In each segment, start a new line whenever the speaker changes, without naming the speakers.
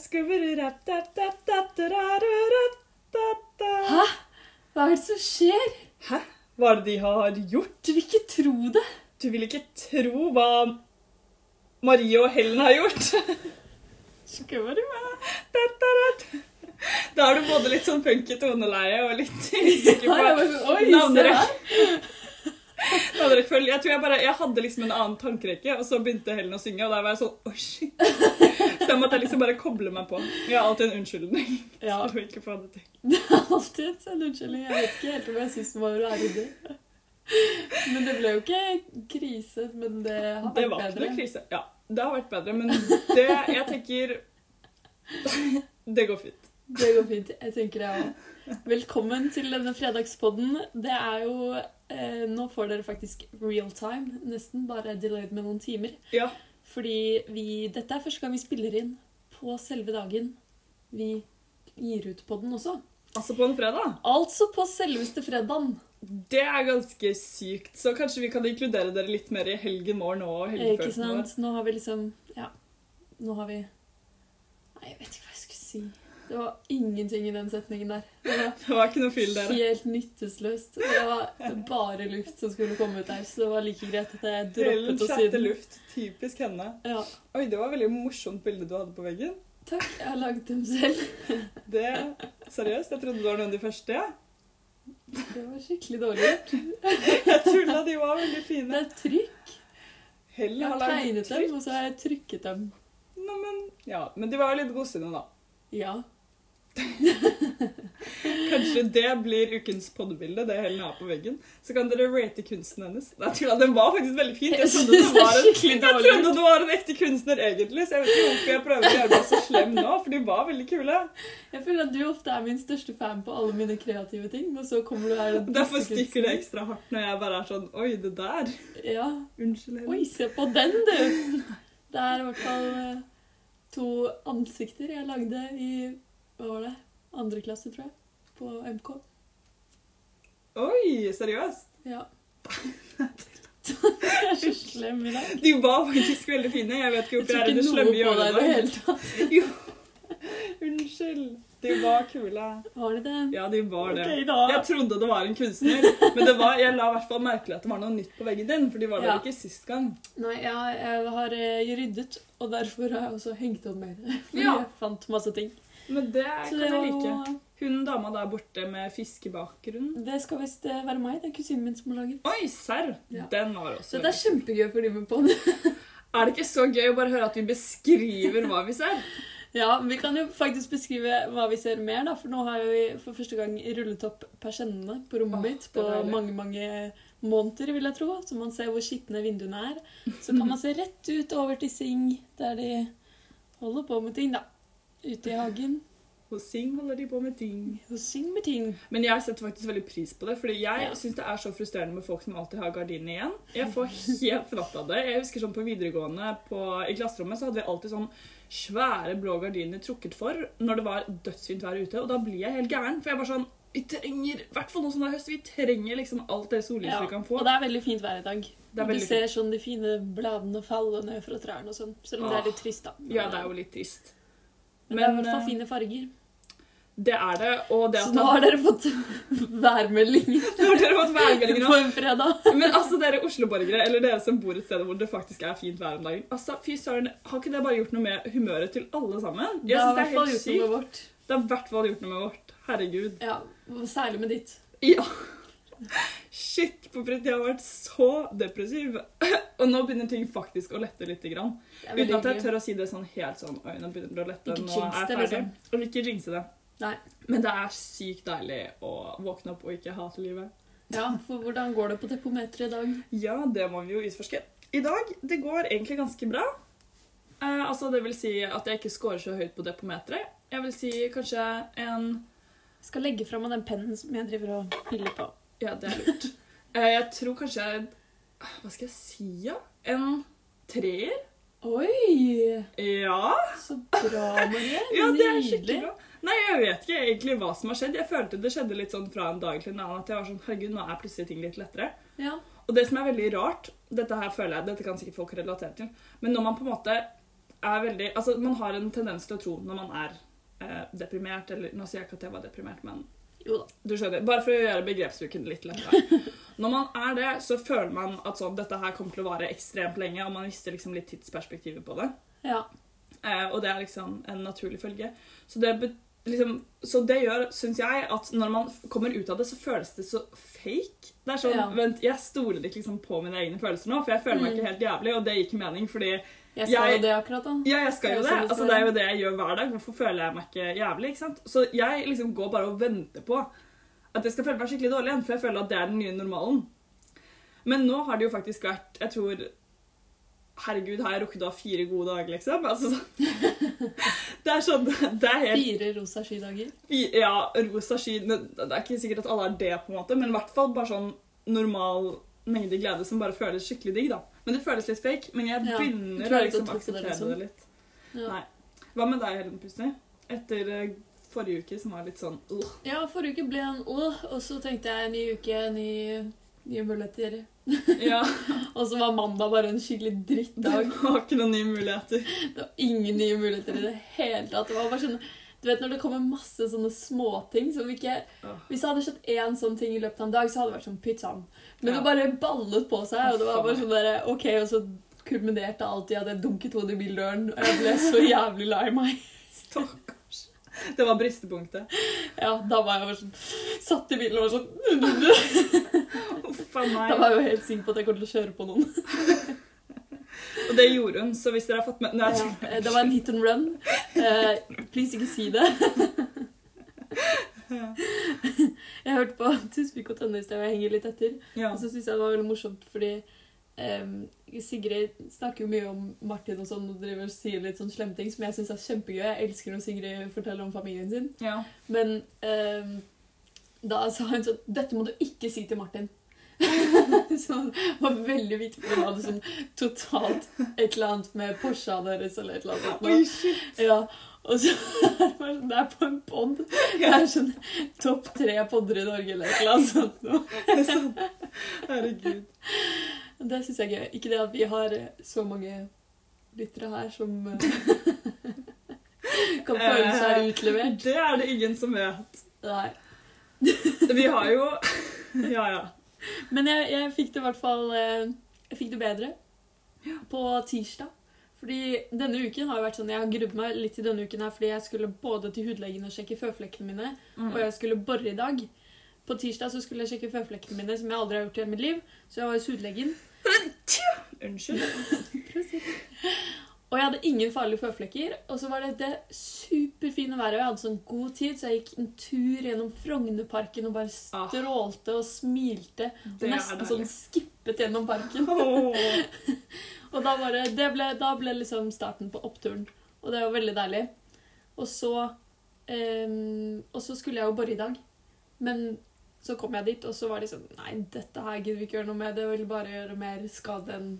Skubburu-bap-bap-bap-da-da.
Hæ?
Hæ? Hva er det som skjer?
Hæ? Hva er det de har gjort?
Du vil ikke tro det.
Du vil ikke tro hva Marie og Helen har gjort. Da er du både litt sånn funky toneleie og litt usikker
Ja, jeg var
på
sånn, Oi, se
navnerekk-
her.
navnerekkefølge. Jeg tror jeg bare Jeg hadde liksom en annen tankerekke, og så begynte Helen å synge, og da var jeg sånn Oi, shit. Så jeg måtte liksom bare koble meg på. Jeg har alltid en unnskyldning
Ja,
for å ikke få det til.
alltid en sånn unnskyldning. Jeg vet ikke helt om jeg syns den var verdig. Men det ble jo ikke krise, men det har vært
Det var ikke
bedre.
noe krise. Ja, det har vært bedre, men det Jeg tenker Det går fint.
Det går fint. Jeg tenker det òg. Velkommen til denne fredagspodden. Det er jo eh, Nå får dere faktisk real time. Nesten bare delayed med noen timer.
Ja.
Fordi vi Dette er første gang vi spiller inn på selve dagen vi gir ut podden også.
Altså på en fredag.
Altså på selveste fredagen.
Det er ganske sykt, så kanskje vi kan inkludere dere litt mer i helgen morgen og
Eh, Ikke
helgefølelsen vår.
sant? Nå har vi liksom Ja. Nå har vi Nei, jeg vet ikke hva jeg skulle si. Det var ingenting i den setningen der. Det var
Det var ikke noe fyll, dere.
Helt nytteløst. Det var bare luft som skulle komme ut der, så det var like greit at jeg
Helen
droppet å si
chatte
den.
luft. Typisk henne.
Ja,
Oi, det var et veldig morsomt bilde du hadde på veggen.
takk. Jeg har laget dem selv.
Det, Seriøst, jeg trodde du var noen av de første. jeg.
Det var skikkelig dårlig gjort.
Jeg tulla, de var veldig
Det
fine.
er trykk.
Helen
Jeg
har
har
lagd
tegnet dem,
trykk.
og så har jeg trykket dem.
Nå, men, ja, men de var jo litt godsinte, da.
Ja.
Kanskje det blir ukens poddebilde, det Helen har på veggen. Så kan dere rate kunsten hennes. Nei, tulla, den var faktisk veldig fin. Jeg
Jeg
trodde
synes
du
det er
var en,
skikkelig
jeg
dårlig.
trodde du var en ekte kunstner egentlig, så jeg vet ikke hvorfor jeg prøver å gjøre meg så slem nå, for de var veldig kule.
Jeg føler at du ofte er min største fan på alle mine kreative ting, og så kommer du her og
Derfor stikker det ekstra hardt når jeg bare er sånn Oi, det der.
Ja.
Unnskyld, Helen.
Oi, se på den, du! Det er i hvert fall eh, to ansikter jeg lagde i Hva var det? Andre klasse, tror jeg. På MK.
Oi, seriøst?
Ja. Jeg er så slem i dag.
De var faktisk veldig fine. Jeg vet ikke
Jeg
hvorfor
tror
jeg er
ikke
det
noe
slemme i
på deg i det
øynene.
hele tatt.
Jo. Unnskyld. De var kule.
Var det det?
Ja, de var det.
Ok, da.
Jeg trodde det var en kunstner, men det var, jeg la i hvert fall merke til at det var noe nytt på veggen din. For de var der
Ja.
ikke sist gang.
Nei, ja, jeg har eh, ryddet, og derfor har jeg også hengt opp mer. Fordi
Ja.
jeg fant masse ting.
Men det
Så
kan
det,
jeg
var
like.
jo-
Hun dama der borte med fiskebakgrunn
det skal visst eh, være meg. Det er kusinen min som har laget.
Oi, serr!
Ja.
Den var også
Så det er kjempegøy å følge med på.
Er det ikke så gøy å bare høre at vi beskriver hva vi ser?
Ja, vi kan jo faktisk beskrive hva vi ser mer, da. For nå har vi for første gang rullet opp persennene på rommet
Åh,
mitt
det er
på
deilig.
mange, mange måneder, vil jeg tro. Så man ser hvor skitne vinduene er. Så kan man se rett ut over til Sing, der de holder på med ting, da. Ute i hagen.
Hos Sing holder de på med ting.
Og Sing med ting.
Men jeg setter faktisk veldig pris på det, fordi jeg
Ja.
syns det er så frustrerende med folk som alltid har gardiner igjen. Jeg får helt fnatt av det. Jeg husker sånn på videregående på, i klasserommet så hadde vi alltid sånn svære blå gardiner trukket for når det var dødsfint vær ute, og da blir jeg helt gæren. For jeg er bare sånn Vi trenger, i hvert fall nå som det er høst, vi trenger liksom alt det sollyset
Ja.
vi kan få.
Og det er veldig fint vær i dag.
Det er
Og du
veldig
ser sånn de fine bladene falle ned fra trærne og sånn. Selv om det
Åh.
er litt trist, da.
Ja, det er jo litt trist.
Men det er i
Men,
hvert fall
eh,
fine farger.
Det er det, og det
Så
at
nå
man-
har dere fått værmeldinger
Nå har dere fått værmeldinger nå.
på en fredag.
Men altså, dere Oslo-borgere, eller dere som bor et sted hvor det faktisk er fint vær om dagen Altså, fy søren, Har ikke det bare gjort noe med humøret til alle sammen? Jeg synes Det er helt sykt.
vårt.
Det har i hvert fall gjort noe med vårt. Herregud.
Ja, Særlig med ditt.
Ja. Shit, på print, jeg har vært så depressiv. Og nå begynner ting faktisk å lette lite grann.
Det er veldig
Uten at jeg
hyggelig.
tør å si det sånn helt sånn Oi, nå begynner det å lette.
Ikke jinx
Nå er
det,
jeg ferdig.
liksom.
Og ikke jinxe det.
Nei.
Men det er sykt deilig å våkne opp og ikke hate livet.
Ja, for hvordan går det på depometeret i dag?
Ja, det må vi jo utforske. I dag, det går egentlig ganske bra. Eh, altså, det vil si at jeg ikke scorer så høyt på det på meteret. Jeg vil si kanskje en
Jeg skal legge fra meg den pennen som jeg driver og piller på.
Ja, det er lurt. Eh, jeg tror kanskje Hva skal jeg si, ja? En treer?
Oi!
Ja.
Så bra, Marie.
ja det er
Nydelig.
skikkelig bra. Nei, jeg vet ikke egentlig hva som har skjedd. Jeg følte det skjedde litt sånn fra en dag til en annen at jeg var sånn Herregud, nå er plutselig ting litt lettere.
Ja.
Og Og det som er veldig rart, dette her føler jeg, dette kan sikkert folk relatere til, men når man på en måte er veldig Altså, man har en tendens til å tro når man er eh, deprimert, eller nå sier jeg ikke at jeg var deprimert, men
Jo da.
du skjønner, bare for å gjøre begrepsbruken litt lettere. Når man er det, så føler man at sånn, dette her kommer til å vare ekstremt lenge, og man mister liksom litt tidsperspektivet på det.
Ja.
Eh, og det er liksom en naturlig følge. Så det, bet- liksom, så det gjør, syns jeg, at når man f- kommer ut av det, så føles det så fake. Det er sånn,
Ja.
vent, Jeg stoler ikke liksom på mine egne følelser nå, for jeg føler meg
Mm.
ikke helt jævlig, og det gir ikke mening, fordi
Jeg skal
Jeg-
jo det akkurat, da.
ja, jeg skal jo
Det
det.
er jo sånn det
Altså,
skal
det er
være.
jo det jeg gjør hver dag. Hvorfor føler jeg meg ikke jævlig? ikke sant? Så jeg liksom går bare og venter på at jeg skal føle meg skikkelig dårlig igjen, for jeg føler at det er den nye normalen. Men nå har det jo faktisk vært Jeg tror Herregud, har jeg rukket å ha fire gode dager, liksom? Altså, sånn. Det er sånn Det er helt
Fire rosa skydager.
fi- Ja, rosa sky Det det er ikke sikkert at alle er det, på en måte, men i hvert fall bare sånn normal mengde glede som bare føles skikkelig digg, da. Men det føles litt fake. Men jeg
Ja,
begynner å
klarer ikke å
liksom
tro på det,
akseptere
liksom.
det litt.
Ja.
Nei. Hva med deg, Helen Pussy? Etter eh, forrige uke, som var litt sånn øh.
ja, forrige uke ble en åh, og så tenkte jeg ny uke, ny, nye muligheter.
Ja,
Og så var mandag bare en skikkelig
det
drittdag.
var ikke noen nye muligheter.
Det var ingen nye muligheter i det hele tatt. Det var bare sånn, du vet når det kommer masse sånne småting som ikke
Åh.
Hvis jeg hadde skjønt én sånn ting i løpet av en dag, så hadde det vært sånn pizzaen. Men
Ja.
det bare ballet på seg, og det var
Faen
bare sånn derre OK, og så kulminerte alt i at jeg dunket hodet i bildøren, og jeg ble så jævlig lei meg.
Stakkars. Det var bristepunktet.
Ja, da var jeg bare sånn Satt i bilen og var sånn
Uff a meg.
Da var jeg jo helt sikker på at jeg kom til å kjøre på noen.
Og det gjorde hun, så hvis dere har fått med Nei, jeg
Ja, det var en hit and run. Eh, please, ikke si det. Jeg hørte på Tusvik og Tønne i sted, og jeg henger litt etter.
tror- ja.
Og så syns jeg det var veldig morsomt, fordi em, Sigrid snakker jo mye om Martin og sånn, og driver og sier litt sånn slemting som jeg syns er kjempegøy. Jeg elsker når Sigrid forteller om familien sin.
ja.
Men em, da sa hun sånn Dette må du ikke si til Martin. så det var veldig viktig for hun hadde sånn totalt et eller annet med Porscha deres eller et eller annet.
Oi, shit.
Ja, og så er det bare sånn, det er på en pod. Det er sånn topp tre podder i Norge eller et eller annet sånt. nå.
Sånn. Herregud.
Det syns jeg er gøy. Ikke det at vi har eh, så mange lyttere her som eh, kan føle seg utlevert.
Det er det ingen som vet.
Nei.
Vi har jo Ja, ja.
Men jeg, jeg fikk det i hvert fall eh, Jeg fikk det bedre på tirsdag. Fordi denne uken har jo vært sånn, Jeg har grudd meg litt til denne uken her fordi jeg skulle både til hudlegen og sjekke føflekkene mine.
Mm.
og jeg skulle bore i dag. På tirsdag så skulle jeg sjekke føflekkene mine, som jeg aldri har gjort i hele mitt liv. Så jeg var hos hudlegen.
Unnskyld.
Og jeg hadde ingen farlige føflekker. Og så var det det superfine været, og jeg hadde sånn god tid, så jeg gikk en tur gjennom Frognerparken og bare
Ah.
strålte og smilte. Og
Det er
nesten sånn
deilig.
skippet gjennom parken.
Åh.
Og da, bare, det ble, da ble liksom starten på oppturen. Og det var veldig deilig. Og så, ehm, og så skulle jeg jo bore i dag. Men så kom jeg dit, og så var det sånn Nei, dette her gidder vi ikke gjøre noe med. Det vil bare gjøre mer skade enn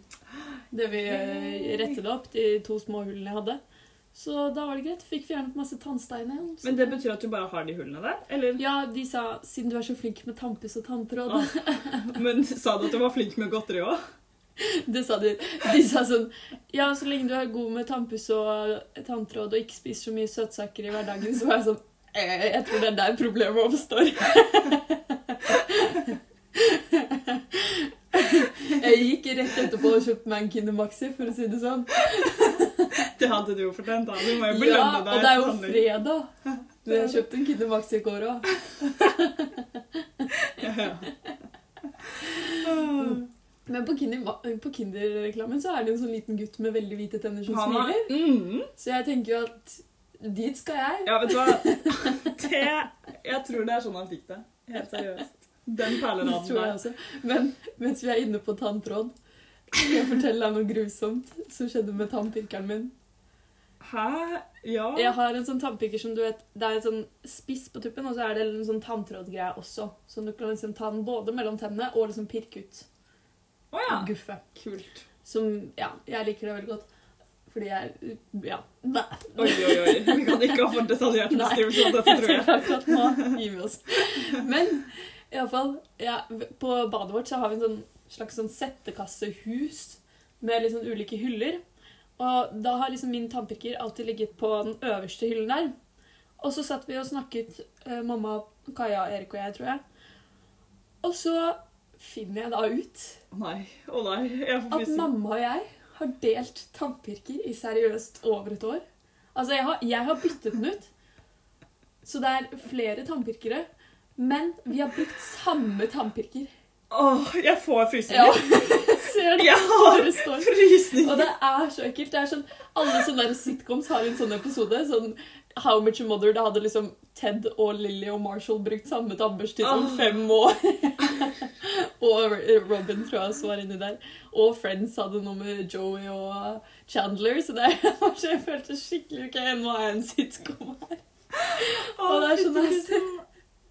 det vi eh, rettet opp, de to små hullene jeg hadde. Så da var det greit. Fikk fjernet masse tannsteiner. og så-
Men det betyr at du bare har de hullene der? Eller?
ja, de sa 'siden du er så flink med tannpuss og tanntråd'.
Ah. Men sa du at du var flink med godteri òg?
Det sa de. De sa sånn Ja, så lenge du er god med tannpuss og tanntråd og ikke spiser så mye søtsaker i hverdagen, så var jeg sånn eh, Jeg tror det er der problemet oppstår. Jeg gikk rett etterpå og kjøpte meg en Kindermaxi, for å si det sånn.
Det hadde du jo fortjent. da. Du må jo
Ja,
belønne
og
deg.
det er jo
sannelig.
fredag. Men jeg kjøpte en Kindermaxi i går òg.
Ja.
Men på Kinder- på Kinder-reklamen så er det jo en sånn liten gutt med veldig hvite tenner som
Han har
smiler.
mm,
Så jeg tenker jo at dit skal jeg.
Ja, vet du hva? Det, jeg tror det er sånn han fikk det. Helt seriøst. Den
Det
perleraden
tror jeg
der.
også. Men mens vi er inne på tanntråd, skal jeg fortelle deg noe grusomt som skjedde med tannpirkeren min.
Hæ? Ja.
Jeg har en sånn tannpirker som du vet, det er en sånn spiss på tuppen, og så er det en sånn tanntrådgreie også. Så du kan liksom ta den både mellom tennene og liksom pirke ut.
Å ja.
Guffe.
Kult.
Som Ja, jeg liker det veldig godt. Fordi jeg Ja. Bæ.
Oi, oi, oi. Vi kan ikke ha for detaljert
Nei.
beskrivelse av dette,
Jeg
tror jeg.
tenker akkurat nå gir vi oss. Men i alle fall, ja, på badet vårt så har vi en sånn slags sånn settekassehus med litt sånn ulike hyller. Og da har liksom min tannpirker alltid ligget på den øverste hyllen der. Og så satt vi og snakket, eh, mamma, Kaja, Erik og jeg, tror jeg. Og så finner jeg da ut
Å nei. Å nei. Jeg får
at
frysning.
mamma og jeg har delt tannpirker i seriøst over et år. Altså, jeg har, jeg har byttet den ut. Så det er flere tannpirkere. Men vi har brukt samme tannpirker.
Åh, jeg får
Ja,
frysninger.
ser du?
Jeg har
Bare står. Og
frysninger.
det er så ekkelt. Det er sånn, alle sånne der sitcoms har en sånn episode. Sånn How Much Your Mother. Da hadde liksom Ted og Lily og Marshall brukt samme tannbørste i sånn
Åh.
fem år. og Robin tror jeg også var inni der. Og Friends hadde noe med Joey og Chandler. Så det var så jeg følte skikkelig ok, nå er jeg en sitcom her.
Åh,
Og det er så
fytti
nice.
grisen.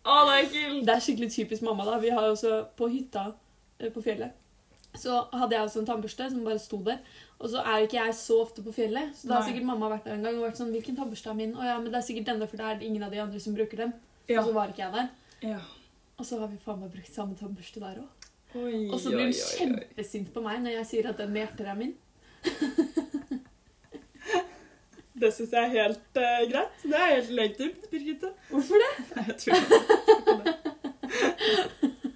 Åh, det er ekkelt.
Det er skikkelig typisk mamma, da. Vi har jo også på hytta eh, på fjellet. Så hadde jeg også en tannbørste som bare sto der. Og så er jo ikke jeg så ofte på fjellet, så da har
Nei.
sikkert mamma vært der en gang og vært sånn 'Hvilken tannbørste er min?' 'Å ja, men det er sikkert denne, for det er ingen av de andre som bruker den.'
Ja.
Og så var ikke jeg der.
ja.
Og så har vi faen meg brukt samme tannbørste der òg.
Oi,
Og så blir hun
oi, oi, oi.
kjempesint på meg når jeg sier at den med hjerter er min.
Det syns jeg er helt eh, greit. Det er helt legitimt, Birgitte.
Hvorfor det?
Nei, jeg tror ikke det.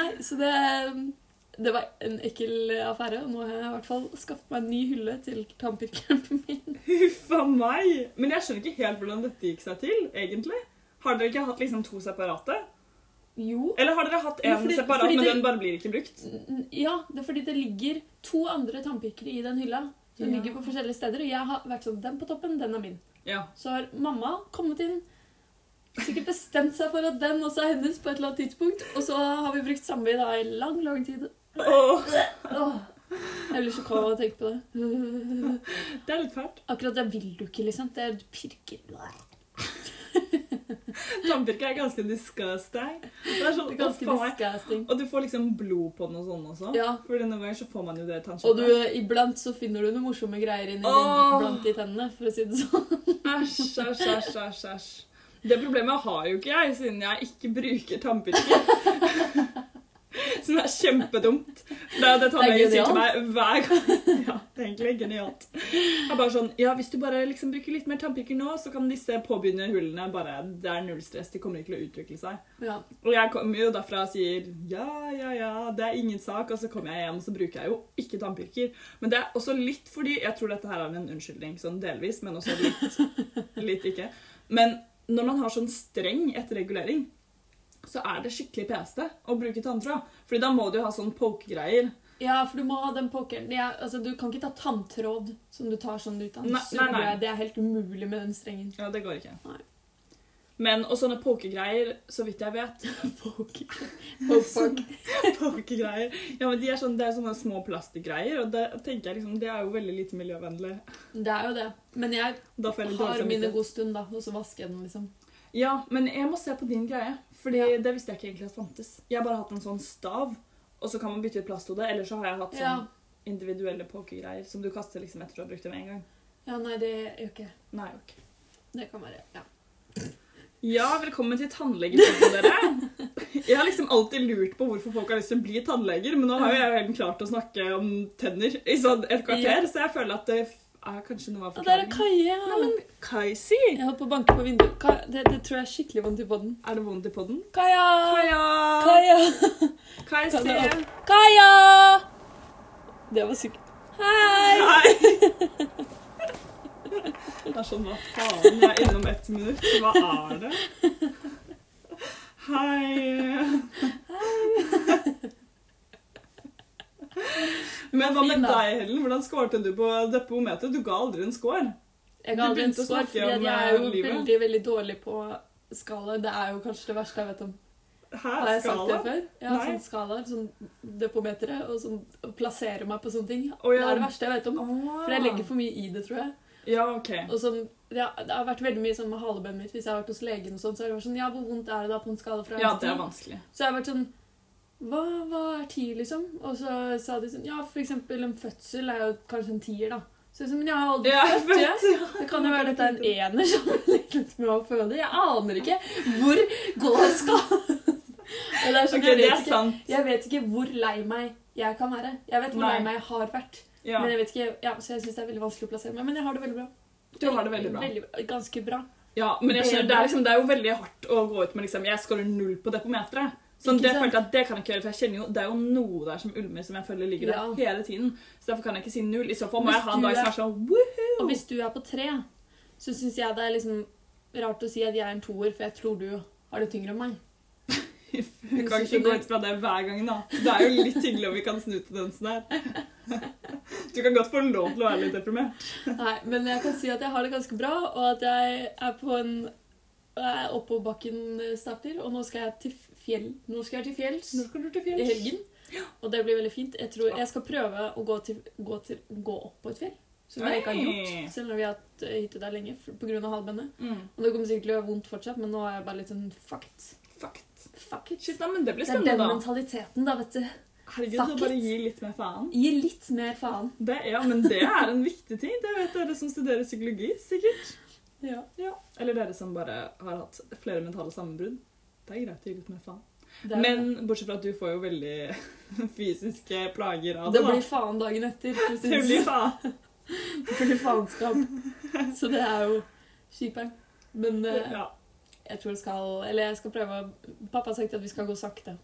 Nei, så det um, Det var en ekkel affære, og nå har jeg i hvert fall skaffet meg en ny hylle til tannpirkeren min.
Huff a meg. Men jeg skjønner ikke helt hvordan dette gikk seg til, egentlig. Har dere ikke hatt liksom to separate?
Jo.
Eller har dere hatt
Jo,
én
fordi-
separat,
fordi
men
det-
den bare blir ikke brukt?
N- Ja, det er fordi det ligger to andre tannpirkere i den hylla. Som
Ja.
ligger på forskjellige steder, og jeg har vært sånn Den på toppen, den er min.
Ja.
Så har mamma kommet inn, sikkert bestemt seg for at den også er hennes på et eller annet tidspunkt, og så har vi brukt samme i da i lang, lang tid.
Åh,
Åh, jeg blir sjokka av å tenke på det.
det er litt fælt.
Akkurat det vil du ikke, liksom. Det er pirker.
Tannpirker er ganske disgusting. Det er sånn,
Det er
å,
ganske
faen meg.
disgusting.
Og du får liksom blod på den og sånn også.
Ja.
Fordi noen ganger så får man jo det tannkjøttet.
Og du, iblant så finner du noen morsomme greier inni
Åh.
blant de tennene, for å si det sånn.
Æsj, æsj, æsj, æsj, æsj. Det problemet har jo ikke jeg, siden jeg ikke bruker tannpirker. Som er kjempedumt. Det er det tannlegen sier til meg hver gang. Ja, det er egentlig genialt. Jeg er bare sånn, ja, Hvis du bare liksom bruker litt mer tannpirker nå, så kan disse påbegynne hullene bare Det er null stress. De kommer ikke til å utvikle seg.
Ja.
Og jeg kommer jo derfra og sier ja, ja, ja, det er ingen sak, og så kommer jeg hjem, og så bruker jeg jo ikke tannpirker. Men det er også litt fordi Jeg tror dette her er en unnskyldning, sånn delvis, men også litt, litt ikke. Men når man har sånn streng etterregulering, så er det skikkelig peste å bruke tanntråd. Fordi da må du jo ha sånn pokegreier.
Ja, for du må ha den pokeren. Ja, altså, du kan ikke ta tanntråd som du tar sånn ut av. en
Nei,
stor
nei, nei.
greie. Det er helt umulig med den strengen.
Ja, det går ikke.
Nei.
Men, og sånne pokegreier, så vidt jeg vet
Poker. Poker.
Pokegreier. Ja, men de er sånn, Det er sånne små plastgreier, og det tenker jeg liksom, det er jo veldig lite miljøvennlig.
Det er jo det. Men jeg
Da får jeg litt dårlig
har min en
samvittighet.
god stund, da, og så vasker jeg den, liksom.
Ja, men jeg må se på din greie. Fordi
Ja.
det visste jeg ikke egentlig at fantes. Jeg har bare hatt en sånn stav, og så kan man bytte ut plasthode. Eller så har jeg hatt sånn
Ja.
individuelle pokegreier som du kaster liksom etter du har brukt dem én gang.
ja, nei, det gjør ikke jeg.
Nei, ok.
Det kan være ja.
Ja, velkommen til tannlegepodden, dere. Jeg har liksom alltid lurt på hvorfor folk har lyst til å bli tannleger, men nå har jo jeg helt klart å snakke om tenner i sånn et kvarter,
Ja.
så jeg føler at det er kanskje noe av
Og der er
forklaringen.
Kaje!
Nei, men Kajsi!
Jeg holdt på å banke på vinduet. Ka det, det tror jeg er skikkelig vondt i podden.
Er det vondt i podden?
Kaja!
Kaja!
Kaja! Kan
Kajsi!
du- Kaja! Det var sikkert Hei!
Nei! Det er sånn, hva faen? Jeg er innom ett minutt. Hva er det? Hei. Men hva med
Fin, da.
deg, Hellen? Hvordan skårte du på depometet? Du ga aldri en skår.
Jeg
Du
ga aldri en
begynte å
score,
snakke
fordi at
om,
jeg er
eh,
jo
livet.
veldig, veldig dårlig på skalaer. Det er jo kanskje det verste jeg vet om. Har
Her,
jeg sagt det
skala.
før? Ja,
Nei.
sånn skalaer, sånn depometere, og sånn å plassere meg på sånne ting.
Å, ja.
Det er det verste jeg vet om. For jeg legger
for...
for mye i det, tror jeg.
Ja, ok.
Og sånn, det, har, det har vært veldig mye sånn med halebenet mitt. Hvis jeg har vært hos legen, og sånn, så har det vært sånn Ja, hvor vondt er det da på en skala fra
Ja,
en
det
til
er
ti?
vanskelig.
Så jeg har vært sånn hva, hva er ti, liksom? Og så sa de sånn Ja, for eksempel en fødsel er jo kanskje en tier, da. Så jeg sånn, Men jeg har aldri
Ja,
født, jeg.
vet du.
Det kan jo være dette er en ener som er litt med å føde. Jeg aner ikke hvor går skalaen. Og det er sånn, jeg,
Ok,
vet
det er
ikke,
sant.
jeg vet ikke hvor lei meg jeg kan være. Jeg vet hvor
Nei.
lei meg jeg har vært.
Ja.
Men jeg vet ikke, ja, så jeg syns det er veldig vanskelig å plassere meg. Men jeg har det veldig bra.
Du har det veldig bra.
ganske bra.
Ja, men jeg skjønner, det, er liksom, det er jo veldig hardt å gå ut med liksom, jeg skårer null på depometeret. Sånn,
Ikke
det
sant?
følte jeg at det kan jeg ikke gjøre, for jeg kjenner jo, det er jo noe der som ulmer som jeg føler ligger der
Ja.
hele tiden. Så derfor kan jeg ikke si null. I så fall må
Hvis
jeg ha en
du
dag som
er-
er sånn woohoo!
Og hvis du er på tre, så syns jeg det er liksom rart å si at jeg er en toer, for jeg tror du har det tyngre enn meg.
Vi kan ikke gå ut fra det hver gang, da. Det er jo litt hyggelig om vi kan snu tendensen her. Du kan godt få lov til å være litt deprimert.
Nei, men jeg kan si at jeg har det ganske bra, og at jeg er på en jeg er oppoverbakken eh, starter, og nå skal jeg til fjell. Nå skal jeg til fjells
skal du til
i helgen, og det blir veldig fint. Jeg tror jeg skal prøve å gå, til, gå, til, gå opp på et fjell, som jeg ikke har
Oi.
gjort, selv om vi har hatt eh, hytte der lenge for- på grunn av halvbenet.
Mm.
Og det kommer sikkert til å gjøre vondt fortsatt, men nå er jeg bare litt sånn fuck it.
Fuck it.
Fuck it.
Shit, da, men det blir
Det er den
spennende, da.
mentaliteten, da, vet du.
Herregud, så
Fuck
bare
it.
gi litt mer faen.
Gi litt mer faen.
Det, ja, men det er en viktig ting. Det vet dere som studerer psykologi, sikkert.
Ja.
Ja. Eller dere som bare har hatt flere mentale sammenbrudd. Det er greit å gi litt mer faen.
Det, er-
Men bortsett fra at du får jo veldig fysiske plager av
det
det,
blir
da.
faen dagen etter. Det sånn.
Det
synes-
blir faen.
det blir faenskap. Så det er jo kjiperen. Men eh,
Ja,
jeg tror jeg skal Eller jeg skal prøve å- Pappa har sagt at vi skal gå sakte.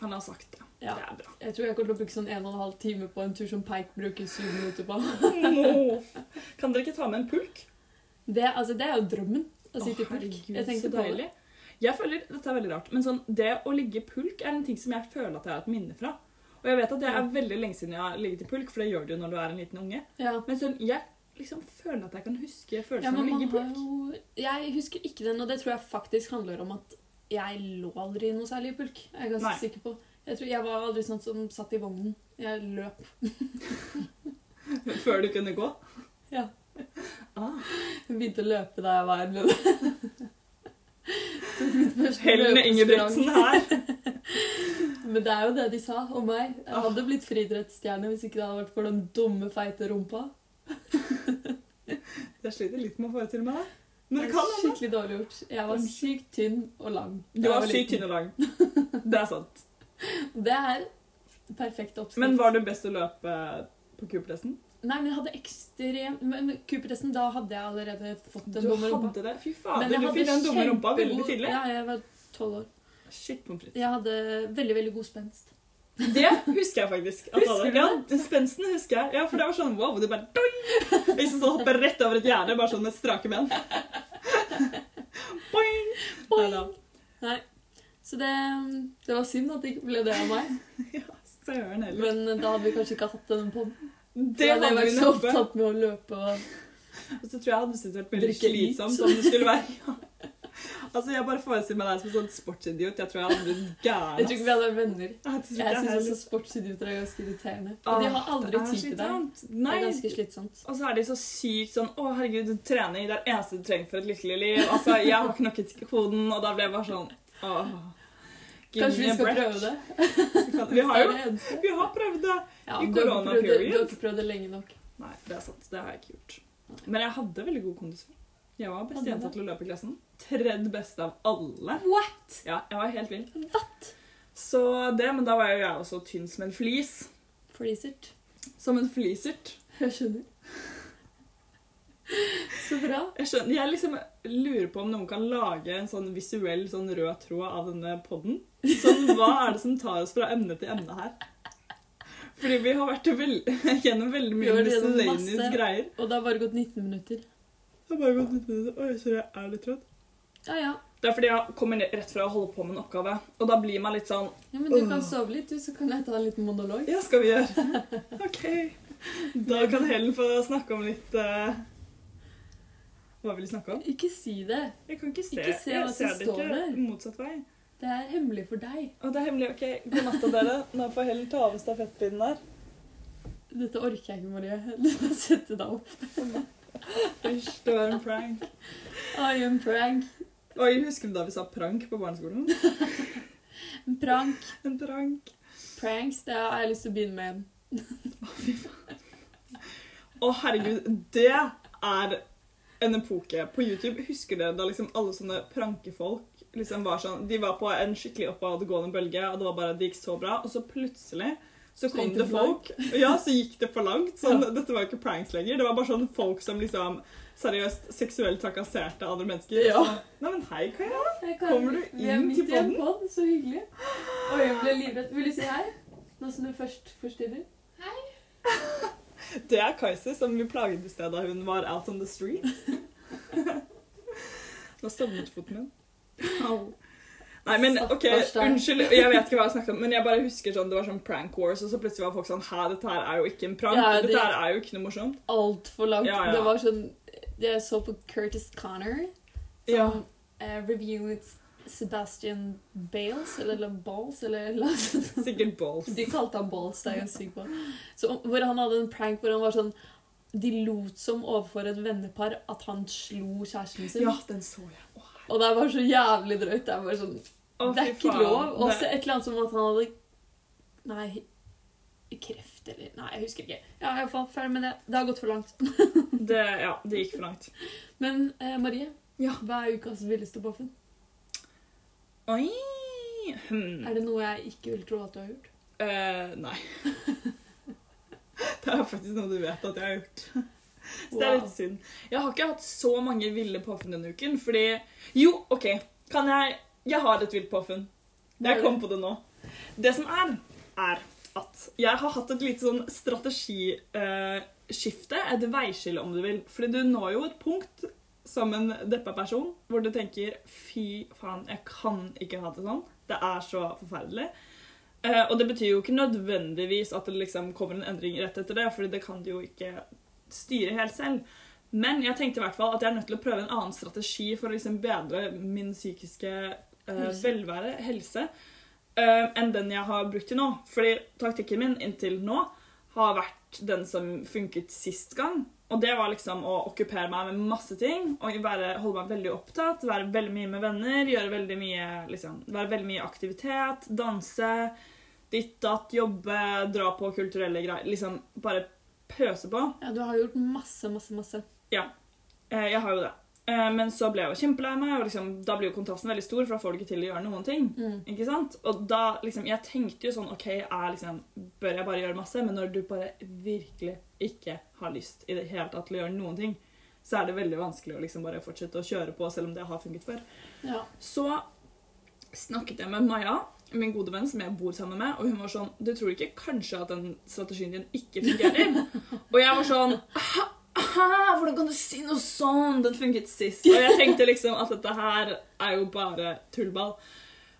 han har sagt det.
Ja.
Det er bra.
Jeg tror jeg kommer til å bruke sånn en og en halv time på en tur som Peik bruker syv minutter på.
Nå. Kan dere ikke ta med en pulk?
Det, altså, det er jo drømmen. Å sitte i
Å,
park.
herregud,
Jeg tenkte
så
på det.
deilig. Jeg føler, Dette er veldig rart, men sånn, det å ligge i pulk er en ting som jeg føler at jeg har et minne fra. Og jeg vet at det er veldig lenge siden jeg har ligget i pulk, for det gjør du jo når du er en liten unge.
Ja.
Men sånn, jeg liksom føler at jeg kan huske
Ja,
følelsen av
men
å
man
ligge i
har
pulk.
jo Jeg husker ikke den, og det tror jeg faktisk handler om at jeg lå aldri noe særlig i pulk. Jeg er ganske
Nei.
sikker på. Jeg tror jeg var aldri sånn som satt i vognen. Jeg løp.
Før du kunne gå.
Ja.
Ah.
Jeg begynte å løpe da jeg var Mitt første
Helene
løpesprang.
Ingebrigtsen her.
Men det er jo det de sa om meg.
Ah.
Jeg hadde blitt friidrettsstjerne hvis ikke det hadde vært for den dumme, feite rumpa.
Jeg sliter litt med å forestille meg det. Men
Det
det
er
kan hende.
Skikkelig dårlig gjort. Jeg var sykt tynn og lang. da
Du
jeg
var sykt
liten.
tynn og lang. Det er sant.
Det er perfekt oppskrift.
Men var du best å løpe på kupressen?
Nei, men jeg hadde ekstrem Men Cooper-testen, da hadde jeg allerede fått
Du
en dumme rumpa.
hadde det. Fy fader,
jeg
du fikk den dumme rumpa veldig
kjempegod-
tidlig.
Ja, jeg var 12 år.
Shit, pommes frites.
Jeg hadde veldig, veldig god spenst.
Det husker jeg faktisk. At
Husker
alle,
du
ja, den spensten husker jeg. Ja, For det var sånn wow, du bare doing! Hvis du sånn hopper rett over et gjerde, bare sånn med strake ben. Boing! Neida.
Nei. Så det, det var synd at det ikke ble det av meg.
Søren heller.
Men da hadde vi kanskje ikke hatt den podden.
Det
Da hadde
hadde
jeg
vi
vært så
neppe.
opptatt med å løpe og
Og så tror jeg hadde syntes det vært veldig
Drikke litt.
slitsomt om det skulle være ja. Altså, Jeg bare forestiller meg deg som en sånn sportsidiot. Jeg tror jeg hadde blitt
Jeg tror
gæren.
ikke vi hadde vært venner.
ass.
Jeg
Jeg tror ikke
syns
jeg
også
heller.
sportsidioter er ganske irriterende. Og de har aldri tid
Åh, det er
til deg.
slitsomt.
Det er
Nei,
ganske slitsomt.
Og så er de så sykt sånn Å, herregud, trening det er det eneste du trenger for et lykkelig liv. Altså, jeg har knokket koden, og da ble jeg bare sånn åh. give
Kanskje vi
me a
skal
break.
prøve det?
Kan- Vi har jo
Det er det eneste.
vi har prøvd det.
Ja,
i
du har ikke prøvd
corona
det-
period.
Du har ikke prøvd det lenge nok.
Nei, det er sant. Det har jeg ikke gjort. Men jeg hadde veldig god kondis før. Jeg var best
Hadde du
jenta til å løpe i klassen. Tredje beste av alle.
What?
Ja, jeg var helt vill.
What?
Så det, men da var jo jeg også tynn som en flis.
Flisert.
Som en flisert.
Jeg skjønner. Så bra.
Jeg skjønner, jeg liksom lurer på om noen kan lage en sånn visuell sånn rød tråd av denne podden. Sånn, hva er det som tar oss fra emne til emne her? Fordi vi har vært vel, gjennom veldig
Vi har
mye
vært gjennom
miscellaneous
masse.
greier.
Og det har bare gått 19 minutter.
Jeg har bare gått litt med det. Oi, sorry, jeg er litt trøtt.
Ja, ja.
Det er fordi jeg kommer ned- rett fra å holde på med en oppgave, og da blir man litt sånn
ja men du kan sove litt, du, så kan jeg ta en liten monolog.
Ja, skal vi gjøre? OK. Da kan Helen få snakke om litt eh, Hva vil du snakke om?
Ikke si det.
Jeg kan ikke se.
Ikke se hva
jeg
som
ser det
står
ikke
der.
motsatt vei.
Det er hemmelig for deg.
Og det er hemmelig. Ok, god natt dere. Nå får Helen ta av stafettpinnen der.
Dette orker jeg ikke, Marie. Du må sette deg opp.
Hysj, det var en prank.
I am prank.
Oi, husker du da vi sa prank på barneskolen?
Prank.
En prank.
Pranks, det har jeg lyst til å begynne med.
Å herregud, det er en epoke på YouTube. Husker dere da liksom alle sånne prankefolk liksom var sånn De var på en skikkelig oppadgående bølge, og det var bare, det gikk så bra, og så plutselig Så
Så
kom
gikk det
det
for langt.
folk, ja, så gikk det for langt. Sånn,
Ja.
Dette var jo ikke pranks lenger. Det var bare sånn folk som liksom seriøst seksuelt trakasserte andre mennesker.
Ja.
Så, Nei, men hei, Kaja.
Jeg
Kommer du
vi er
inn
midt
til
i en podd, så hyggelig. Oi, jeg ble livredd. Vil du si hei? Nå som du først forstyrrer.
Det er Kajsi som vi plaget i sted da hun var out on the street. Nå stovnet foten min. Au. Nei, men ok,
Stakkars deg.
unnskyld, jeg vet ikke hva jeg snakket om, men jeg bare husker sånn, det var sånn prank wars, og så plutselig var folk sånn, hæ, dette her er jo ikke en prank,
Ja, det-
dette her er jo ikke noe morsomt.
Altfor langt.
Ja, ja.
Det var sånn Jeg så på Curtis Connor som
Ja.
eh, reviewet Sebastian Bales, eller La- Balls, eller noe sånt.
Sikkert balls.
De kalte han Balls, det er jeg ganske sikker på. Så, hvor han hadde en prank hvor han var sånn De lot som overfor et vennepar at han slo kjæresten sin.
Ja, den så jeg. Å, herregud.
Og det var så jævlig drøyt. Det er bare sånn
Å,
Det er
fy
ikke
faen.
lov.
Det-
Også et eller annet som at han hadde Nei, kreft eller Nei, jeg husker ikke. Ja, i hvert fall ferdig med det. Det har gått for langt.
Det, ja, det gikk for langt.
Men eh, Marie,
Ja.
hva er ukas villeste boffen?
Oi! Hmm.
Er det noe jeg ikke vil tro at du har gjort?
Eh, nei. det er faktisk noe du vet at jeg har gjort. Så det er
Wow.
litt synd. Jeg har ikke hatt så mange ville påfunn denne uken, fordi Jo, OK. Kan jeg Jeg har et vilt påfunn.
Hva er
Jeg
det?
kom på det nå. Det som er, er at jeg har hatt et lite sånn strategiskifte, et veiskille om du vil. Fordi du når jo et punkt som en deppa person hvor du tenker fy faen, jeg kan ikke ha det sånn. Det er så forferdelig. Eh, og det betyr jo ikke nødvendigvis at det liksom kommer en endring rett etter det, fordi det kan du jo ikke styre helt selv. Men jeg tenkte i hvert fall at jeg er nødt til å prøve en annen strategi for å liksom bedre min psykiske eh,
Helse.
velvære, helse, eh, enn den jeg har brukt til nå. Fordi taktikken min inntil nå har vært den som funket sist gang. Og det var liksom å okkupere meg med masse ting, og være, holde meg veldig opptatt, være veldig mye med venner, gjøre veldig mye, liksom, være veldig mye aktivitet, danse, ditt, datt, jobbe, dra på kulturelle greier. Liksom bare pøse på.
Ja, du har gjort masse, masse, masse.
Eh, Jeg har jo det. Eh, Men så ble jeg jo kjempelei meg, og liksom, da blir jo kontrasten veldig stor, for da får du ikke til å gjøre noen ting.
Mm.
Ikke sant? Og da liksom Jeg tenkte jo sånn OK, jeg liksom Bør jeg bare gjøre masse? Men når du bare virkelig ikke har lyst i det hele tatt til å gjøre noen ting, så er det veldig vanskelig å liksom bare fortsette å kjøre på, selv om det har funket før.
Ja.
Så snakket jeg med Maja, min gode venn som jeg bor sammen med, og hun var sånn Du tror ikke kanskje at den strategien din ikke fungerer? og jeg var sånn «Hæ? Hæ? Hvordan kan du si noe sånn? Den funket sist. Og jeg tenkte liksom at dette her er jo bare tullball.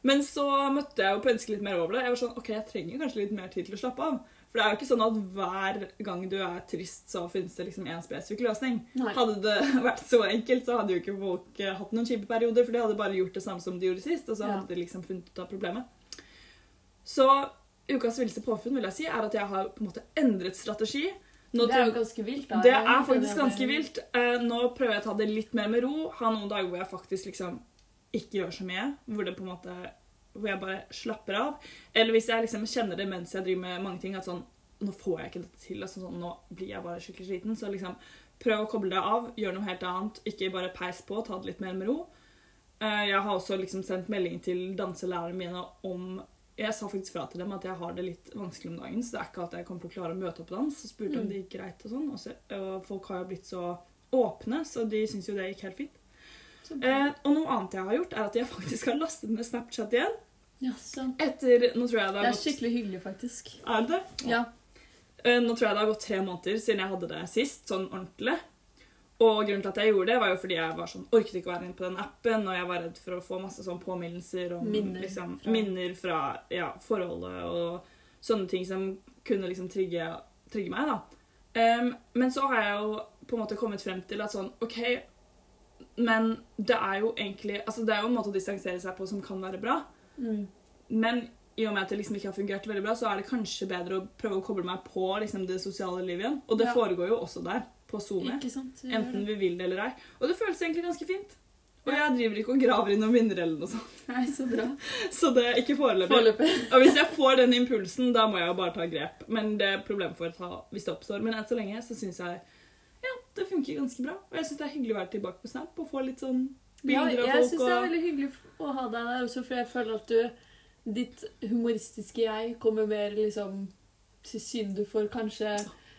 Men så møtte jeg jo pønske litt mer over det. Jeg var sånn, ok, jeg trenger kanskje litt mer tid til å slappe av. For det er jo ikke sånn at hver gang du er trist, så finnes det liksom en spesifikk løsning.
Nei.
Hadde det vært så enkelt, så hadde jo ikke folk eh, hatt noen kjipe perioder, for de hadde bare gjort det samme som de gjorde sist, og så
Ja.
hadde de liksom funnet ut av problemet. Så ukas villeste påfunn vil jeg si, er at jeg har på en måte endret strategi. Nå
Det er
tror-
jo ganske vilt, da.
det
Jeg
er
liker
faktisk
det.
ganske vilt. Eh, Nå prøver jeg å ta det litt mer med ro. Ha noen dager hvor jeg faktisk liksom ikke gjør så mye. Hvor det på en måte Hvor jeg bare slapper av. Eller hvis jeg liksom kjenner det mens jeg driver med mange ting, at sånn Nå får jeg ikke dette til. Altså, sånn, nå blir jeg bare skikkelig sliten. Så liksom prøv å koble deg av. Gjør noe helt annet. Ikke bare peis på. Ta det litt mer med ro. Eh, Jeg har også liksom sendt melding til danselærerne mine om jeg sa faktisk fra til dem at jeg har det litt vanskelig om dagen, så det er ikke at jeg kommer til å klare å møte opp på dans. Så spurte
Mm.
jeg om det gikk greit og sånn. Og, så, og folk har jo blitt så åpne, så de syns jo det gikk helt fint.
Så bra.
Eh, og noe annet jeg har gjort, er at jeg faktisk har lastet ned Snapchat igjen.
Ja, sant.
Etter Nå tror jeg det
Det
har
er
gått
skikkelig hyggelig, faktisk.
Er det det?
Ja.
Eh, Nå tror jeg det har gått tre måneder siden jeg hadde det sist, sånn ordentlig. Og grunnen til at jeg gjorde det, var jo fordi jeg var sånn, orket ikke å være inne på den appen, og jeg var redd for å få masse sånn påminnelser om
Minner
liksom,
fra-
minner fra ja, forholdet og sånne ting som kunne liksom trigge, trigge meg, da. Em, men så har jeg jo på en måte kommet frem til at sånn, ok, men det er jo egentlig, altså det er jo en måte å distansere seg på som kan være bra,
Mm.
men i og med at det liksom ikke har fungert veldig bra, så er det kanskje bedre å prøve å koble meg på liksom, det sosiale livet igjen. Og det
Ja.
foregår jo også der, på Sone.
Ikke sant? Det gjør
Enten
det.
vi vil det eller ei. Og det føles egentlig ganske fint. Og
Ja.
jeg driver ikke og graver i noen minner eller noe sånt.
Nei, så bra.
Så det er ikke foreløpig.
Foreløpig.
Og hvis jeg får den impulsen, da må jeg jo bare ta grep. Men det er problem for å ta hvis det oppstår. Men enn så lenge så syns jeg ja, det funker ganske bra. Og jeg syns det er hyggelig å være tilbake på Snap og få litt sånn
Ja,
bilder av
jeg syns
folk
det er
og
veldig hyggelig å ha deg der også, for jeg føler at du Ditt humoristiske jeg kommer mer liksom til siden du får kanskje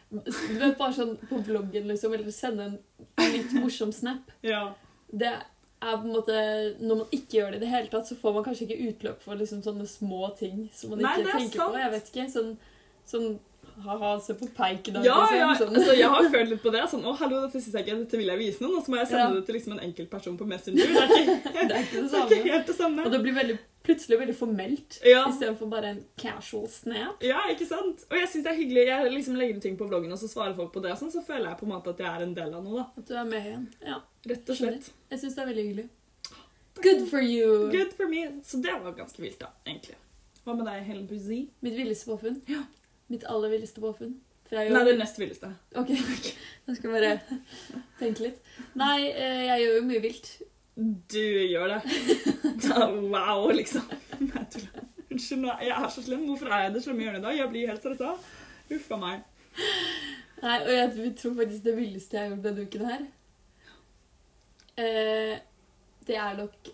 du vet, Bare sånn på bloggen, liksom, eller sende en litt morsom snap.
Ja.
Det er på en måte Når man ikke gjør det i det hele tatt, så får man kanskje ikke utløp for liksom sånne små ting som man
Nei, det
ikke
er
tenker
sant.
på. Jeg vet ikke. Sånn, sånn ha-ha, se på peiken
Ja,
da,
ja,
liksom,
altså, jeg har følt litt på det. Sånn, å, hallo, dette synes jeg ikke, dette vil jeg vise noen. Og så må jeg sende
Ja.
det til liksom, en enkeltperson på Messenger. Det er
Sånn. Det er ikke det
ikke, det er ikke
samme.
helt det
Og
samme.
det blir veldig, plutselig veldig formelt.
Ja.
Istedenfor bare en casual snap.
Ja, ikke sant? Og jeg synes det er hyggelig. Jeg liksom legger ut ting på bloggen, og så svarer folk på det. og Sånn, så føler jeg på en måte at jeg er en del av noe, da.
At du er med igjen. Ja.
Rett og slett.
Jeg syns det er veldig hyggelig. Good for you!
Good for me. Så det var ganske vilt, da, egentlig. Hva med deg, Helen Buzzi?
Mitt villeste påfunn.
Ja.
Mitt aller villeste påfunn. For jeg
Nei,
gjør
det nest villeste.
Ok, ok. Da skal jeg bare tenke litt. Nei, eh, jeg gjør jo mye vilt.
Du gjør det. Da, wow, liksom. Nei, jeg tuller. Unnskyld, nå- jeg er så slem. Hvorfor er jeg i det slemme hjørnet i dag? Jeg blir helt stressa. Uff a meg.
Nei, og jeg tror faktisk det villeste jeg har gjort denne uken her, eh, det er nok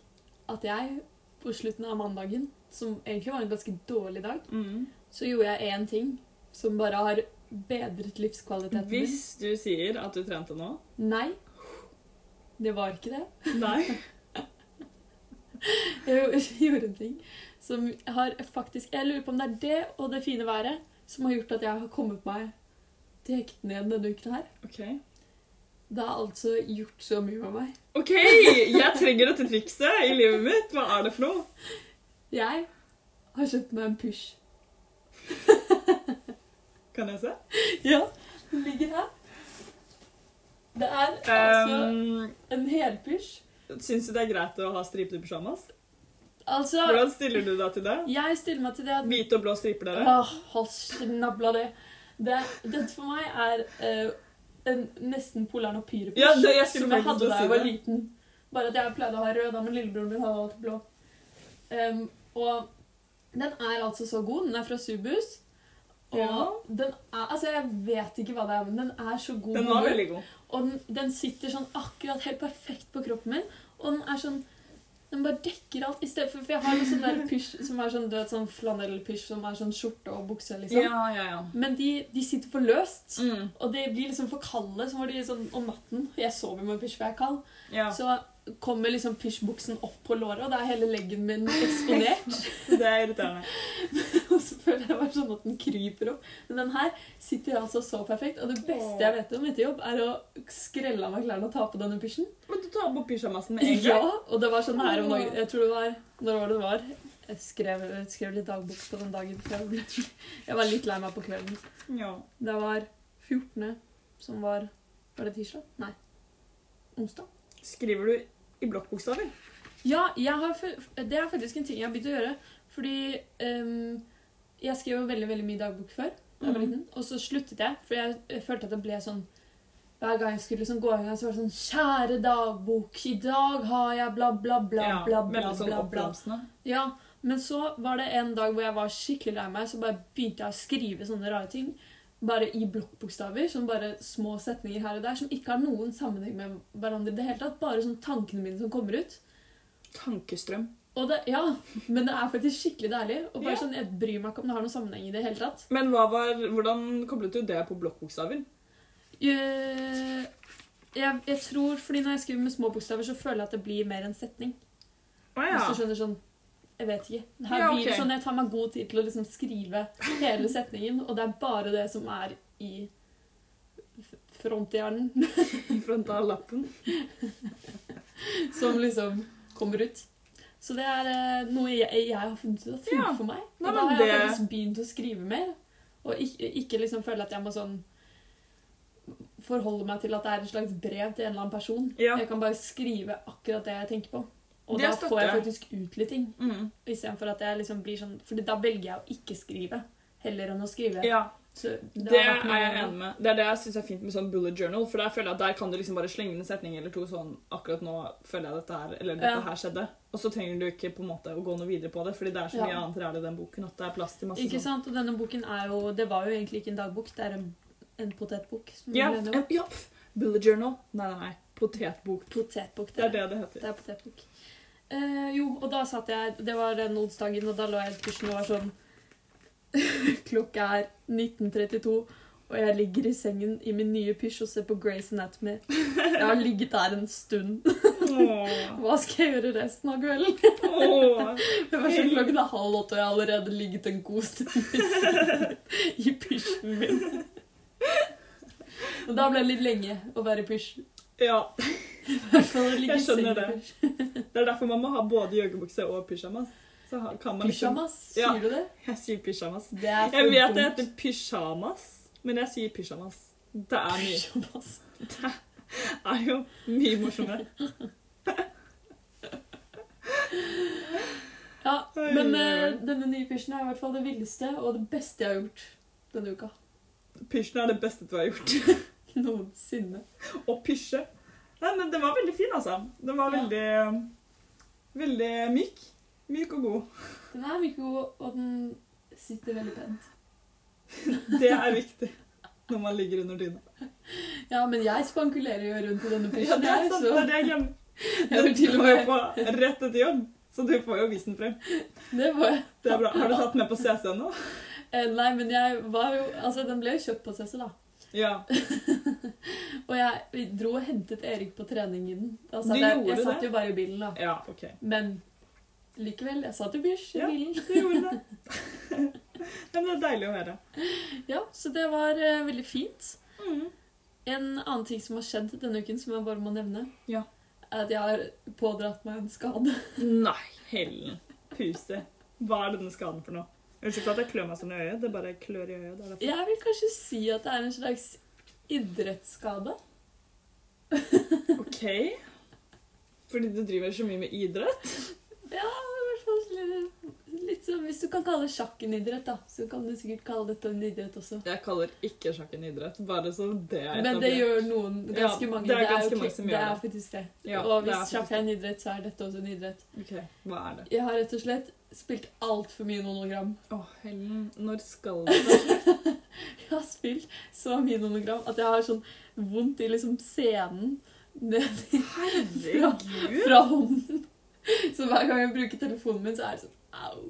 at jeg på slutten av mandagen, som egentlig var en ganske dårlig dag,
Mm.
så gjorde jeg én ting som bare har bedret livskvaliteten min.
Hvis du sier at du trente nå
Nei, det var ikke det.
Nei.
Jeg gjorde en ting som har faktisk Jeg lurer på om det er det og det fine været som har gjort at jeg har kommet meg til hektene igjen denne uken her.
OK.
Det har altså gjort så mye med meg.
OK! Jeg trenger dette trikset i livet mitt. Hva er det for noe?
Jeg har kjøpt meg en push.
Kan jeg se?
Ja, den ligger her. Det er
Ehm.
altså
Um,
en helpush.
Syns du det er greit å ha stripete pysjamas?
Altså
Hvordan stiller du deg til det?
Jeg stiller meg til det at
Hvite og blå striper, dere?
Åh, hold snabla det. det. Dette for meg er eh, en nesten polaren og pyrepysj.
Ja, det- jeg skulle
som jeg
faktisk
hadde
si
da jeg var
det.
liten. Bare at jeg pleide å ha rød, da, men lillebroren min hadde alltid blå. Em, og den er altså så god. Den er fra Subus. Og
Ja.
den er Altså, jeg vet ikke hva det er, men den er så god.
Den var veldig god.
Og den, den sitter sånn akkurat helt perfekt på kroppen min. Og den er sånn Den bare dekker alt. I stedet for, for jeg har en sånn der pysj som er sånn død sånn flanellpysj som er sånn skjorte og bukse, liksom.
ja, ja.
Men de, de sitter for løst.
Mm,
Og de blir liksom for kalde. Så var de sånn om natten Jeg sover med pysj, for jeg er kald.
ja.
Så kommer liksom pysjbuksen opp på låret, og da er hele leggen min eksponert.
Det er irriterende.
og så føler jeg bare sånn at den kryper opp. Men den her sitter altså så perfekt. Og det beste jeg vet om etter jobb, er å skrelle av meg klærne og ta på denne pysjen.
Men du tar på pysjamasen med en
Ja,
gang.
og det var sånn her om dagen. Jeg tror det var Når var det det var? Jeg skrev, jeg skrev litt dagbok på den dagen. For jeg, ble, jeg var litt lei meg på kvelden.
Ja.
Det var 14. som var Var det tirsdag? Nei. Onsdag?
Skriver du i blokkbokstaver?
Ja, jeg har, fu- det er faktisk en ting jeg har begynt å gjøre. Fordi ehm, jeg skrev jo veldig veldig mye dagbok før. Da jeg var
Mhm.
liten, og så sluttet jeg, for jeg, jeg følte at det ble sånn Hver gang jeg skulle liksom gå i gang, så var det sånn Kjære dagbok, i dag har jeg bla, bla, bla, bla, bla,
veldig sånn
bla, bla.
oppblomstrende.
Ja, men så var det en dag hvor jeg var skikkelig lei meg, så bare begynte jeg å skrive sånne rare ting. Bare i blokkbokstaver, som bare små setninger her og der, som ikke har noen sammenheng med hverandre i det hele tatt. Bare sånn tankene mine som kommer ut.
Tankestrøm.
Og det, ja, men det er faktisk skikkelig deilig. Og bare
Ja.
sånn, jeg bryr meg ikke om det har noen sammenheng i det hele tatt.
Men hva var, hvordan koblet du det på blokkbokstaver?
Eh, Jeg, jeg tror, fordi når jeg skriver med små bokstaver, så føler jeg at det blir mer en setning.
Å
Hvis du skjønner sånn Jeg vet ikke. Her
Ja,
blir det
ok.
sånn, Jeg tar meg god tid til å liksom skrive hele setningen, og det er bare det som er i f- fronthjernen,
I front av lappen.
som liksom kommer ut. Så det er eh, noe jeg, jeg har funnet ut at funker
Ja.
for meg. Og
Nei,
da
men
har jeg
det-
faktisk begynt å skrive mer, og ikke, ikke liksom føle at jeg må sånn Forholde meg til at det er et slags brev til en eller annen person.
Ja.
Jeg kan bare skrive akkurat det jeg tenker på. Og
Det
da
støtter
får jeg
jeg.
faktisk ut litt ting.
Mm.
Istedenfor at jeg liksom blir sånn For da velger jeg å ikke skrive heller enn å skrive.
Ja.
Så
Det,
har vært
er
noe-
jeg enig med. Det er det jeg syns er fint med sånn bullet journal. For der føler jeg at der kan du liksom bare slenge inn en setning eller to sånn Akkurat nå føler jeg dette her, eller dette
Ja.
her skjedde. Og så trenger du ikke på en måte å gå noe videre på det, fordi det er så mye
Ja.
annet ræl i den boken at det er plass til masse sånn.
Ikke sant? Og denne boken er jo Det var jo egentlig ikke en dagbok, det er en, en potetbok. Som
Ja,
vi ble enige om.
en- ja, pff, bullet journal. Nei, nei, nei. Potetbok.
Potetbok.
Det er det det heter.
Det er potetbok. Eh, jo, og da satt jeg Det var den onsdagen, og da lå jeg i dusjen og var sånn Klokka er 19.32, og jeg ligger i sengen i min nye pysj og ser på Grey's Anatomy. Jeg har ligget der en stund.
Åh.
Hva skal jeg gjøre resten av kvelden?
Åh.
Det var sånn klokken er halv åtte, og jeg har allerede ligget en god stund i sengen i pysjen min. Og da ble det litt lenge å være i pysj.
Ja.
I hvert fall å ligge
Jeg
i sengen
skjønner
i
det.
pysj.
Det er derfor man må ha både joggebukse og pyjamas. Så ha- kan man liksom
Pysjamas,
Ja.
sier du det?
Jeg sier pyjamas.
Det er
Jeg
for
vet det
dumt.
heter pyjamas, men jeg sier pyjamas. Det er mye,
Pysjamas.
er jo mye morsommere.
Ja,
Oi,
men
oi, oi.
eh, denne nye pysjen er i hvert fall det villeste og det beste jeg har gjort denne uka.
Pysjen er det beste du har gjort.
Noensinne.
Og pysje. Nei, men den var veldig fin, altså. Den var
Ja.
veldig Veldig myk. Myk og god.
Den er mye god, og den sitter veldig pent.
Det er viktig når man ligger under dyna.
Ja, men jeg spankulerer jo rundt i denne
Ja,
pysjen.
det er
jeg,
sant.
så
Det er det jeg glemmer.
jeg
Den
vil til og
kommer jo
med
på rett etter jobb, så du får jo vist den frem.
Det var jeg.
Det er bra. Har du tatt den med på CC nå?
Eh, Nei, men jeg var jo Altså, den ble jo kjøpt på CC, da.
Ja.
Og jeg vi dro og hentet Erik på trening i den. Da satt
Du
jeg,
gjorde
jeg satt
det?
jo bare i bilen, da.
Ja, OK.
Men likevel, jeg satt i pysj i
Ja.
bilen.
Du gjorde det. Ja, men det er deilig å høre.
Ja, så det var eh, veldig fint.
Mm.
En annen ting som har skjedd denne uken, som jeg bare må nevne,
Ja.
er at jeg har pådratt meg en skade.
Nei, Helen. Puse. Hva er denne skaden for noe? Unnskyld for at jeg klør meg sånn i øyet. Det bare klør i øyet. Det er derfor.
Jeg vil kanskje si at det er en slags idrettsskade.
OK. Fordi du driver så mye med idrett?
Ja, i hvert fall litt, litt som Hvis du kan kalle sjakk en idrett, da, så kan du sikkert kalle dette en idrett også.
Jeg kaller ikke sjakk en idrett, bare så det er
Men det gjør noen, ganske
Ja,
mange.
det er
jo
ganske
ikke-
mange som gjør
det. er
det.
faktisk det.
Ja,
Og
det er
hvis
faktisk
sjakk er en idrett, så er dette også en idrett.
OK, hva er det?
Jeg har rett og slett spilt altfor mye nonogram.
Å, Helen, når skal det være slutt?
Jeg har spilt så mye nonogram at jeg har sånn vondt i liksom scenen. Ned i
Herregud!
fra hånden. Så hver gang jeg bruker telefonen min, så er det sånn au, au,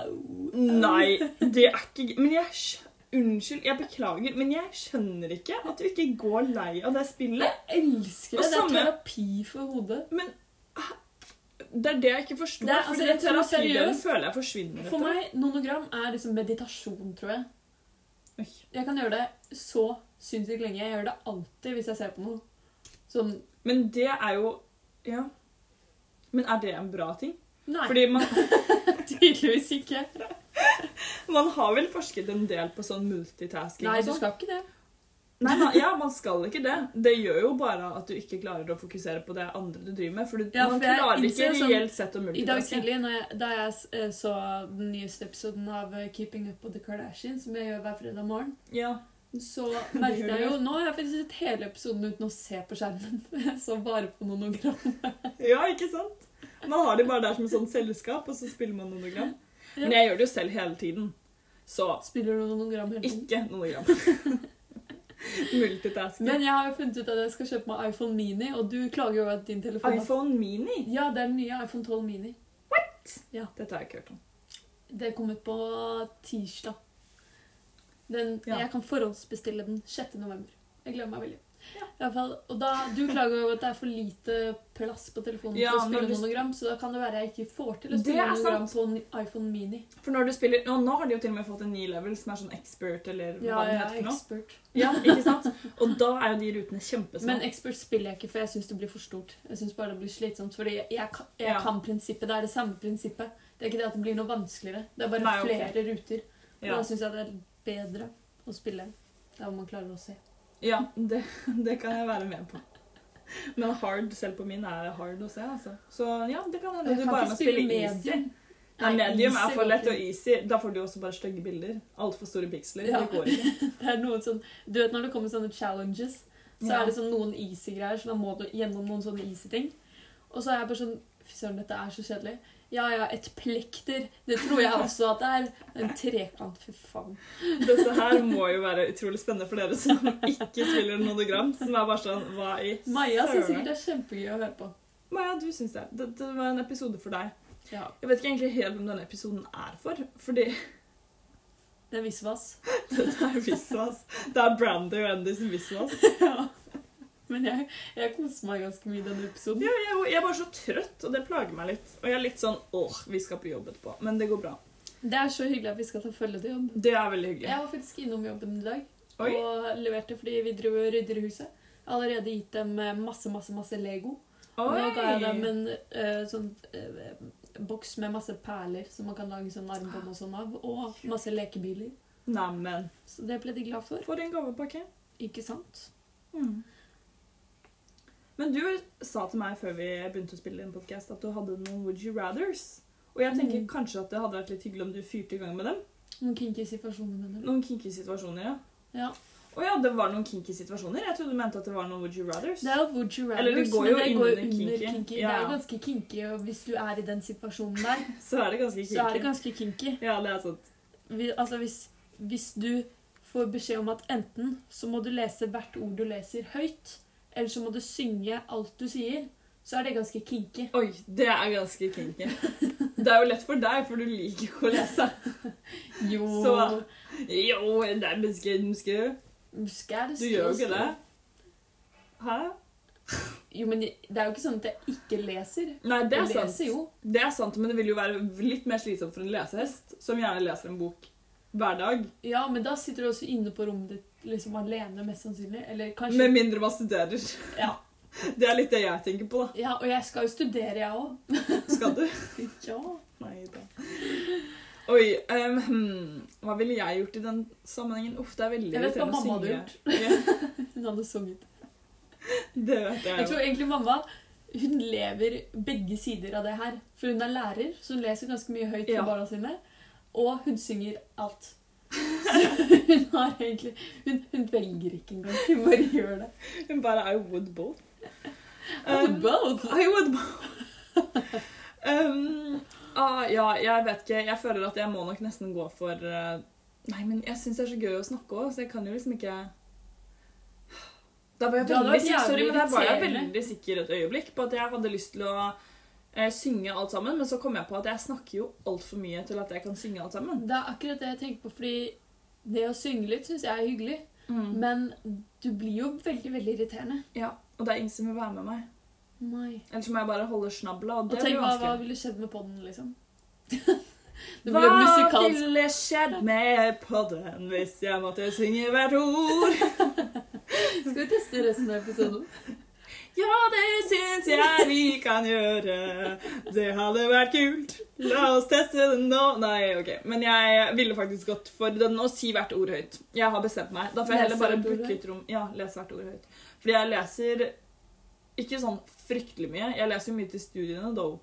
au.
Nei, det er ikke g- Men jeg skj- Unnskyld, jeg beklager, men jeg skjønner ikke at du ikke går lei av det spillet.
Jeg elsker
Og
det. Det er
samme-
terapi for hodet.
Men ah, det er det jeg ikke forstår.
Det er- altså,
fordi
jeg tror
terapidelen
seriøst-
føler jeg forsvinner
For meg, nonogram er liksom meditasjon, tror jeg.
Oi.
Jeg kan gjøre det så sinnssykt lenge. Jeg gjør det alltid hvis jeg ser på noe. Sånn
Men det er jo Ja. Men er det en bra ting?
Nei,
Fordi man,
tydeligvis ikke.
man har vel forsket en del på sånn multitasking
Nei,
og
du
sånn?
skal ikke det.
Nei, nei, ja, man skal ikke det. Det gjør jo bare at du ikke klarer å fokusere på det andre du driver med. For du,
Ja,
man
for jeg
klarer ikke
innser sånn-
reelt sett å
I dag
multitaske.
tidlig, når jeg, da jeg s- eh, så den nyeste episoden av eh, Keeping Up with the Kardashians, som jeg gjør hver fredag morgen,
Ja.
så
Det
merket
gjør
jeg jo Nå har jeg faktisk sett hele episoden uten å se på skjermen. Jeg så bare på nonogram.
ja, ikke sant? Man har det bare der som et sånt selskap, og så spiller man nonogram.
Ja.
Men jeg gjør det jo selv hele tiden. Så
Spiller du nonogram hele tiden?
ikke nonogram. Multitasking.
Men jeg har jo funnet ut at jeg skal kjøpe meg iPhone Mini, og du klager jo over at din telefon
iPhone Mini?
Ja, det er den nye iPhone 12 Mini.
Dette har jeg ikke hørt om.
Det kom ut på tirsdag. Den,
Ja.
Jeg kan forhåndsbestille den 6. november. Jeg gleder meg veldig.
Ja.
I hvert fall, og da, Du klager jo over at det er for lite plass på telefonen
Ja,
til å spille
men hvis-
nonogram, så da kan det være jeg ikke får til å
Det
spille
er
nonogram på en iPhone Mini.
For når du spiller, og nå har de jo til og med fått en ny level som er sånn expert, eller hva
Ja,
det
jeg
heter
er
for noe.
ekspert.
Ja, ikke sant? Og da er jo de rutene kjempesmå.
Men Expert spiller jeg ikke, for jeg syns det blir for stort. Jeg synes bare det blir slitsomt, fordi jeg, jeg, kan, jeg
Ja.
kan prinsippet. Det er det samme prinsippet. Det er ikke det at det blir noe vanskeligere. Det er bare
Nei, ok.
flere ruter. Og
Ja,
Da syns jeg det er bedre å spille der hvor man klarer å se.
ja det, det kan jeg være med på. Men hard, selv på min, er hard å se, altså. Så ja, det kan hende
Jeg
du
kan
bare
ikke
må spille
spille
easy.
medium.
Nei,
Nei,
medium
easy
er for
går
lett
ikke.
og easy. Da får du også bare stygge bilder. Altfor store piksler.
Ja.
Det går ikke.
Det er noen sånn, du vet når det kommer sånne challenges, så
Ja.
er det sånn noen easy greier, så da må du gjennom noen sånne easy ting. Og så er jeg bare sånn Fy søren, dette er så kjedelig. Ja ja, et plekter. Det tror jeg også at det er. En trekant. Fy faen.
Dette her må jo være utrolig spennende for dere som ikke spiller nodogram. Som er bare sånn Hva i
Maja syns
søren?
sikkert det er kjempegøy å høre på.
Maja, du syns det. Dette var en episode for deg.
Ja.
Jeg vet ikke egentlig helt hvem denne episoden er for, fordi
Det er visvas.
Det er visvas. Det er Brandy og Andys visvas.
ja. Men jeg, jeg koser meg ganske mye i denne episoden.
Ja, jeg, jeg er bare så trøtt, og det plager meg litt. Og jeg er litt sånn åh, vi skal på jobb etterpå. Men det går bra.
Det er så hyggelig at vi skal ta følge til jobb.
Det er veldig hyggelig.
Jeg var faktisk innom jobben i dag
Oi.
og leverte fordi vi driver og rydder i huset. Jeg har Allerede gitt dem eh, masse, masse, masse Lego. Og Nå ga jeg dem en eh, sånn eh, boks med masse perler som man kan lage sånn armbånd og sånn av. Og masse lekebiler.
Neimen,
Så det ble de glad for.
for en gavepakke.
Ikke sant?
Mm. Men du sa til meg før vi begynte å spille inn podcast at du hadde noen Would you rathers. Og jeg tenker
Mm.
kanskje at det hadde vært litt hyggelig om du fyrte i gang med dem.
Noen kinky situasjoner med dem.
Noen kinky situasjoner, ja.
Ja.
Å ja, det var noen kinky situasjoner. Jeg trodde du mente at det var noen Would you rathers.
Det er jo would you rather,
Eller det går
men
jo
det
inn
går jo
under
under kinky.
kinky. Ja.
Det er jo ganske kinky, og hvis du er i den situasjonen der,
Så er det ganske kinky.
så er det ganske kinky.
Ja, det er sant.
Vi, altså hvis, hvis du får beskjed om at enten så må du lese hvert ord du leser høyt, eller så må du synge alt du sier, så er det ganske kinky.
Oi, det er ganske kinky. Det er jo lett for deg, for du liker jo å lese.
Jo,
Så- Yo, det er menneske, menneske.
skal
Du gjør jo ikke det. Hæ?
Jo, men det er jo ikke sånn at jeg ikke leser.
Nei, det er
jeg leser
sant.
jo.
Det er sant, men det vil jo være litt mer slitsomt for en lesehest, som gjerne leser en bok hver dag.
Ja, men da sitter du også inne på rommet ditt liksom alene, mest sannsynlig. Eller kanskje
Med mindre man studerer.
Ja.
Det er litt det jeg tenker på, da.
Ja, og jeg skal jo studere, jeg òg.
Skal du?
Ja.
Nei da. Oi, ehm, hmm, hva ville jeg gjort i den sammenhengen? Uff, det er veldig
Jeg vet hva
irriterende å
mamma hadde
synge.
gjort.
Ja,
Hun hadde sunget.
det vet jeg
Jeg
jo.
tror egentlig mamma hun lever begge sider av det her. For hun er lærer, så hun leser ganske mye høyt for
Ja.
barna sine. Og hun synger alt. Så hun har egentlig Hun, hun velger ikke engang. Hun bare gjør det.
Hun bare I would both.
Um,
Ehm, I would um, ah, Ja, jeg vet ikke. Jeg føler at jeg må nok nesten gå for eh, Nei, men jeg syns det er så gøy å snakke òg, så jeg kan jo liksom ikke Da var jeg
Det hadde vært
veldig sikker,
jævlig
sorry, men der var jeg
irriterende.
veldig sikker et øyeblikk på at jeg hadde lyst til å eh, synge alt sammen, men så kom jeg på at jeg snakker jo altfor mye til at jeg kan synge alt sammen.
Det er akkurat det jeg tenker på, fordi det å synge litt syns jeg er hyggelig. Men du blir jo veldig, veldig irriterende.
Ja, Og det er ingen som vil være med meg.
Nei.
Ellers må jeg bare holde snabla, og
Og
det
tenk
blir
hva, hva
vanskelig.
ville skjedd med podden, liksom? det
Hva
ble musikalsk.
ville skjedd med podden hvis jeg måtte synge hvert ord?
Skal vi teste resten av episoden?
Ja, det syns jeg vi kan gjøre. Det hadde vært kult. La oss teste den nå. Nei, ok. Men jeg ville faktisk gått for den å si hvert ord høyt. Jeg har bestemt meg. Da får jeg
Lese
heller bare
hvert ord
booke et rom. Ja, lese hvert ord høyt. Fordi jeg leser ikke sånn fryktelig mye. Jeg leser jo mye til studiene, dog.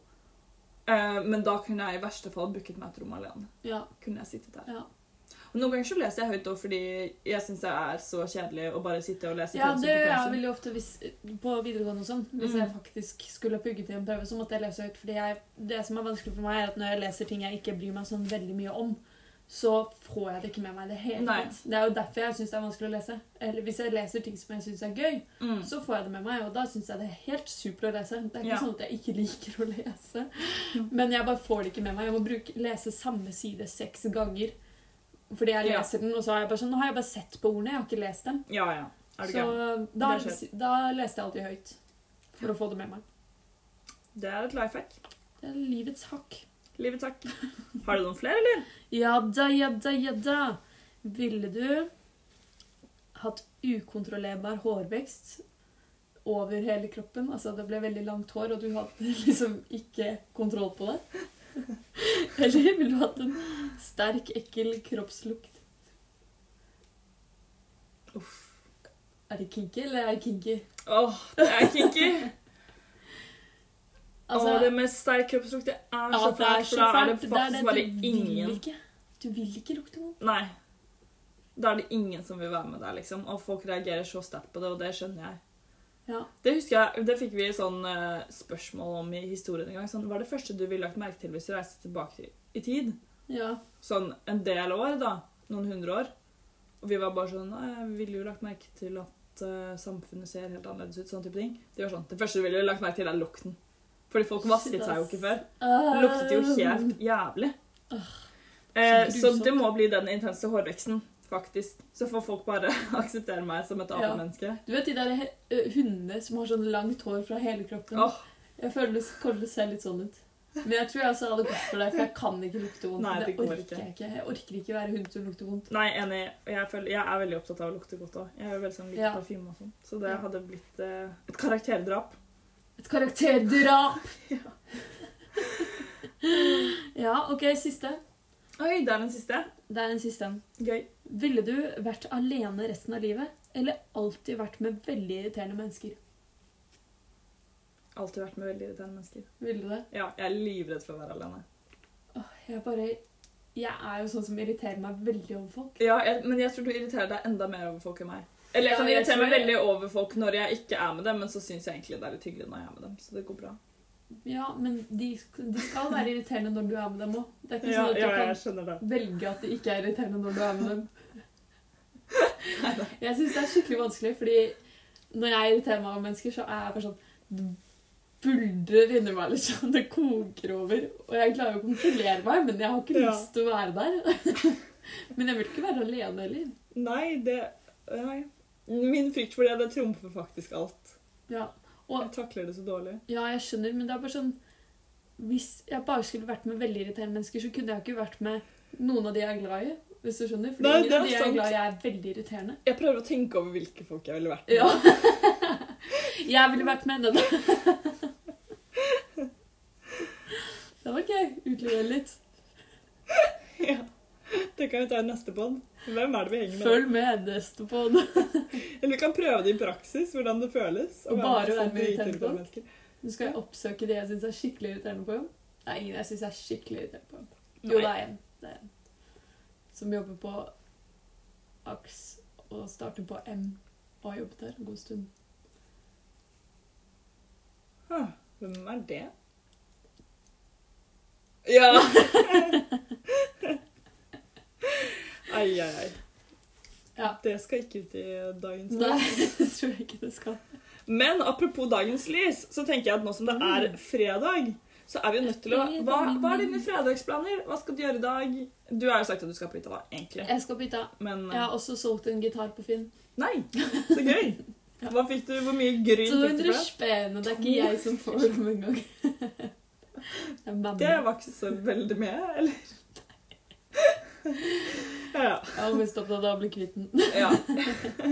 Eh, Men da kunne jeg i verste fall booket meg et rom alene.
Ja.
Kunne jeg sittet der.
Ja,
Og Noen ganger så leser jeg høyt også, fordi jeg syns det er så kjedelig å bare sitte og lese
ja
pensum
det gjør
på
jeg
pensum.
veldig ofte hvis, på videregående og sånn. Hvis
Mm.
jeg faktisk skulle pugge til en prøve, så måtte jeg lese høyt. Fordi jeg, det som er vanskelig for meg, er at når jeg leser ting jeg ikke bryr meg sånn veldig mye om, så får jeg det ikke med meg i det hele
Nei.
tatt. Det er jo derfor jeg syns det er vanskelig å lese. Eller hvis jeg leser ting som jeg syns er gøy,
Mm.
så får jeg det med meg, og da syns jeg det er helt supert å lese. Det er ikke
Ja. Mm.
sånn at jeg ikke liker å lese, men jeg bare får det ikke med meg. Jeg må bruke, lese samme side seks ganger. Fordi jeg
Ja.
leser den, og så har jeg bare sånn, nå har jeg bare sett på ordene, jeg har ikke lest dem.
Ja, ja. Er det
Så
gøy?
da,
Det skjer.
da leste jeg alltid høyt. For å få det med meg.
Det er et life hack.
Det er livets hakk.
Livet takk. Har du noen flere, eller?
Ja da, ja da, ja da. Ville du hatt ukontrollerbar hårvekst over hele kroppen? Altså det ble veldig langt hår, og du hadde liksom ikke kontroll på det? Eller ville du hatt en sterk, ekkel kroppslukt?
Uff.
Er det kinky, eller er det kinky?
Åh, det er kinky.
Altså,
Åh, det med sterk kroppslukt, det er
ja,
så
det er
fælt.
så
For da er det
fælt.
faktisk
Det er det,
bare
du vil
ingen
ikke. Du vil ikke lukte vondt.
Nei. Da er det ingen som vil være med der, liksom. Og folk reagerer så sterkt på det, og det skjønner jeg.
Ja.
Det husker jeg, det fikk vi sånn eh, spørsmål om i historien en gang. Sånn, Hva er det første du ville lagt merke til hvis du reiste tilbake i tid?
ja.
sånn en del år, da. Noen hundre år. Og vi var bare sånn Nei, jeg ville jo lagt merke til at eh, samfunnet ser helt annerledes ut. Sånn type ting. De var sånn Det første du ville lagt merke til, er lukten. Fordi folk vasket seg jo ikke før. Det luktet jo helt jævlig. Eh,
Så
så
grusomt.
det må bli den intense hårveksten, faktisk. Så får folk bare akseptere meg som et
Ja.
apemenneske.
Du vet de der he- eh, hundene som har sånn langt hår fra hele kroppen?
Åh,
Jeg føler det kommer til å se litt sånn ut. Men jeg tror jeg altså hadde gått for deg, for jeg kan ikke lukte vondt.
Nei, det går
orker
ikke.
jeg ikke. Jeg orker ikke være hund som lukter vondt.
Nei, enig. Og Jeg, føler, jeg er veldig opptatt av å lukte godt òg. Jeg er jo veldig sånn litt
Ja.
parfyme og sånn. Så det
Ja.
hadde blitt eh, et karakterdrap.
Et karakterdrap! ja, OK, siste.
Oi, det er den siste.
Det er den siste. en.
Gøy.
Ville du vært alene resten av livet, eller alltid vært med veldig irriterende mennesker?
Alltid vært med veldig irriterende mennesker.
Ville du det?
Ja, jeg er livredd for å være alene.
Åh, jeg bare Jeg er jo sånn som irriterer meg veldig over folk.
Ja, jeg, men jeg tror du irriterer deg enda mer over folk enn meg. Eller
Ja,
jeg kan
jeg
irritere
tror
meg
jeg-
veldig over folk når jeg ikke er med dem, men så syns jeg egentlig det er litt hyggelig når jeg er med dem. Så det går bra.
Ja, men de, de skal være irriterende når du er med dem òg. Det er ikke sånn at du kan
skjønner det.
velge at det ikke er irriterende når du er med dem. Jeg syns det er skikkelig vanskelig, fordi når jeg irriterer meg over mennesker, så er jeg bare sånn Det buldrer inni meg, liksom. Det koker over. Og jeg klarer jo å kontrollere meg, men jeg har ikke
Ja.
lyst til å være der. Men jeg vil ikke være alene heller.
Nei, det Nei. Min frykt for det, det trumfer faktisk alt.
Ja.
Jeg takler det så dårlig.
ja, jeg skjønner, men det er bare sånn Hvis jeg bare skulle vært med veldig irriterende mennesker, så kunne jeg ikke vært med noen av de jeg er glad i. Hvis du skjønner? Fordi
Nei, det
ingen av
er
de jeg
sant.
er glad i, er veldig irriterende.
Jeg prøver å tenke over hvilke folk jeg ville vært med.
Ja. Jeg ville vært med den. Det var gøy. Utlevere litt.
Ja. Det kan vi ta i neste pod. Hvem er det vi henger med?
Følg med neste pod.
Eller vi kan prøve det i praksis, hvordan det føles. å
Og
være
bare
med sånne
være med i
dritirriterende
tempo.
mennesker.
Nå skal jeg oppsøke de jeg syns er skikkelig irriterende på jobb. Det er ingen jeg syns er skikkelig irriterende på jobb. Jo, det
Nei.
er en. Det er en. Som jobber på AKS og starter på M og har jobbet der en god stund.
Huh, Hvem er det? Ja! ai, ai, ai.
Ja.
Det skal ikke ut i dagens
Nei,
lys.
det tror jeg ikke det skal.
Men apropos dagens lys, så tenker jeg at nå som det er fredag, så er vi jo nødt til å Hva, hva er dine fredagsplaner? Hva skal du gjøre i dag? Du har jo sagt at du skal på hytta, da, egentlig.
Jeg skal bytte av.
Men eh,
Jeg har også solgt en gitar på Finn.
Nei! Så gøy! Hva fikk du, Hvor mye gryn fikk du
200
for det?
spenn, og det er ikke jeg som får dem engang. Det er
Det
mamma.
var ikke så veldig med, eller? ja, ja.
Jeg var mest opptatt av å bli kvitt den.
Ja.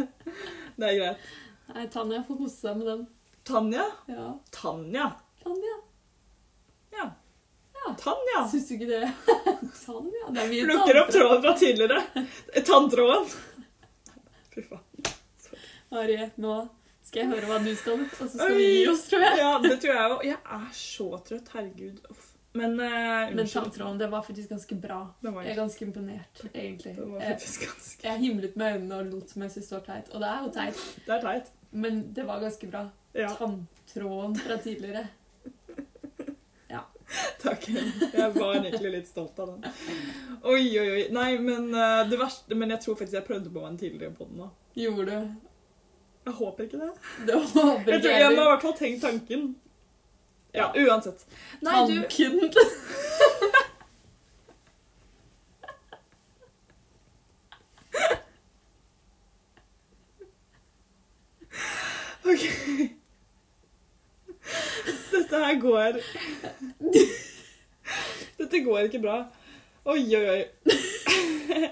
Det er greit.
Nei, Tanja får kose seg med den.
Tanja?
Ja,
Tanja.
Tanja.
Ja.
Ja.
Tanja.
Syns du ikke det? Tanja? Det er mye
Plukker Ah. opp
tanter.
tråden fra tidligere. Tanntråden. Fy faen.
Harry, nå skal jeg høre hva du skal, og så skal
Oi.
vi gi oss, tror jeg.
Ja, det tror jeg òg. Jeg er så trøtt. Herregud. Uff. Men eh,
Men
unnskyld.
tanntråden, det var faktisk ganske bra.
Den var,
Jeg er ganske imponert, egentlig.
den var
Jeg,
faktisk ganske
jeg himlet med øynene og lot som jeg syntes det var teit. Og det er jo teit,
Det er teit.
men det var ganske bra.
Ja,
Tanntråden fra tidligere.
takk. Jeg var egentlig litt stolt av den. Oi, oi, oi. Nei, men eh, det verste Men jeg tror faktisk jeg prøvde på en tidligere på den nå.
Gjorde du?
Jeg håper ikke det.
Det håper
Jeg, tror, jeg må i hvert fall tenke tanken. Ja, uansett. Nei, du
Tanken.
Ok. Dette her går Dette går ikke bra. Oi, oi, oi.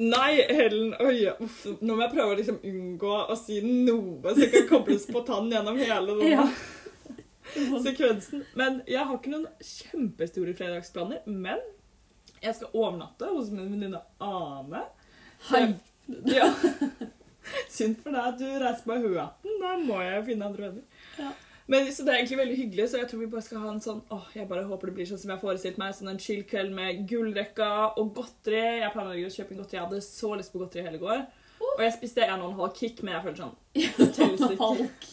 Nei, Helen. Oi, uff. Nå må jeg prøve å liksom unngå å si noe som kan kobles på tann gjennom hele denne
Ja.
sekvensen. Men jeg har ikke noen kjempestore fredagsplaner. Men jeg skal overnatte hos min venninne Ane.
Hei.
Ja. Synd for deg at du reiser på Høaten. Da må jeg finne andre venner.
Ja.
Men, så det er egentlig veldig hyggelig, så jeg tror vi bare skal ha en sånn åh, jeg bare håper det blir sånn som jeg forestilte meg. Sånn en chill kveld med gullrekka og godteri. Jeg planlegger å kjøpe en godteri. Jeg hadde så lyst på godteri i hele går. Og jeg spiste en og en halv kick, men jeg følte sånn Det telles ikke.
Halk.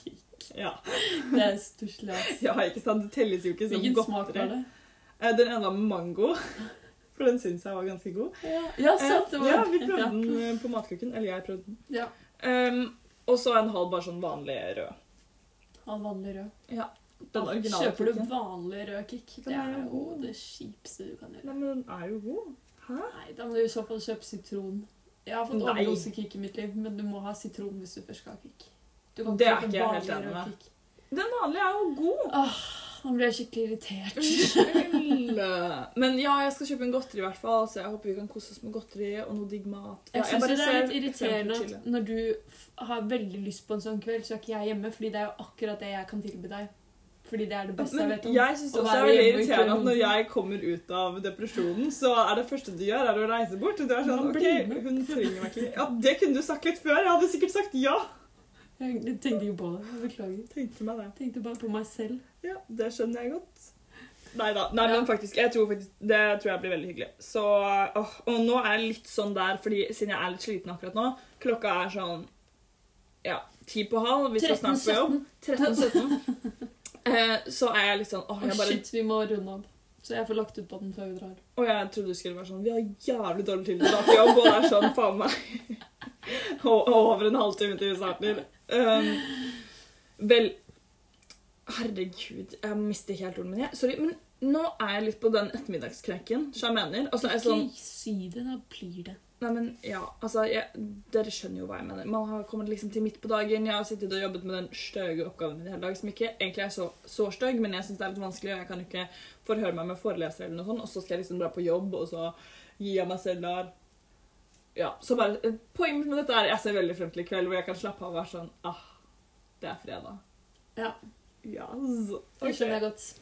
Ja.
Det er stusslig, ass.
ja, ikke sant? Det telles jo ikke som
Hvilken smak
godteri.
var det?
Eh, Den ene var med mango, for den syns jeg var ganske god.
Ja,
Eh,
sant. Det var.
Ja, vi prøvde den eh, på matkukken. Eller jeg prøvde den.
Ja.
Ehm, og så en halv bare sånn vanlig rød.
Av vanlig rød.
Den originale
Kjøper du
kukken.
vanlig rød kick?
Den
Det
er
er
jo
jo
god.
det kjipeste du kan gjøre.
Nei, men den er jo god. Hæ?
Nei, da må du i så fall kjøpe sitron. Jeg har fått
Nei.
overdosekick i mitt liv, men du må ha sitron hvis du først skal ha kick. Du kan
Det er
kjøpe
ikke jeg helt
vanlig
enig
rød
med.
kick.
Den vanlige er jo god.
Åh, nå blir jeg skikkelig irritert.
Unnskyld. Men ja, jeg skal kjøpe en godteri i hvert fall, så jeg håper vi kan kose oss med godteri og noe digg mat. Ja,
Jeg syns
bare
det er
ser
litt irriterende
frem til
at når du f- har veldig lyst på en sånn kveld, så er ikke jeg hjemme, fordi det er jo akkurat det jeg kan tilby deg. Fordi det er det
Chile.
beste jeg vet
Men
om.
jeg syns
å
også det
være
er veldig
hjemme i
irriterende at
kveld.
når jeg kommer ut av depresjonen, så er det første du gjør, er å reise bort. Og du er sånn
Men bli
OK,
med."
hun trenger meg ikke Ja, det kunne du sagt litt før. Jeg hadde sikkert sagt ja.
Jeg tenkte ikke på det. Jeg Beklager.
Tenkte meg det.
Jeg tenkte bare på meg selv.
Ja, det skjønner jeg godt. Neida. Nei
Ja.
men faktisk, jeg tror faktisk Det tror jeg blir veldig hyggelig. Så, åh, og nå er jeg litt sånn der, fordi siden jeg er litt sliten akkurat nå Klokka er sånn ja, ti på halv. Vi skal snart på jobb.
13-17.
13-17. Eh, så er jeg litt sånn åh,
Å,
jeg bare,
Shit, vi må runde av. Så jeg får lagt ut på den før vi drar.
Og jeg trodde du skulle være sånn Vi har jævlig dårlig tid til å dra på jobb, og det er sånn faen meg og, og over en halvtime til vi starter. Um, vel Herregud, jeg mister helt ordene mine. Sorry, men nå er jeg litt på den ettermiddagskrenken. Så jeg mener. Altså, jeg er sånn,
Ikke si det, da blir det.
nei, men ja, altså, jeg, Dere skjønner jo hva jeg mener. Man har kommet liksom til midt på dagen. Jeg har sittet og jobbet med den støge oppgaven min i hele dag, som ikke egentlig er så, så støg, men jeg syns det er litt vanskelig. og Jeg kan jo ikke forhøre meg med forelesere eller noe sånt, og så skal jeg liksom dra på jobb, og så gir jeg meg selv der. Ja, så bare, eh, Poenget mitt med dette er jeg ser veldig frem til i kveld, hvor jeg kan slappe av og være sånn Ah, det er fredag.
Ja.
Yes.
Det skjønner jeg godt.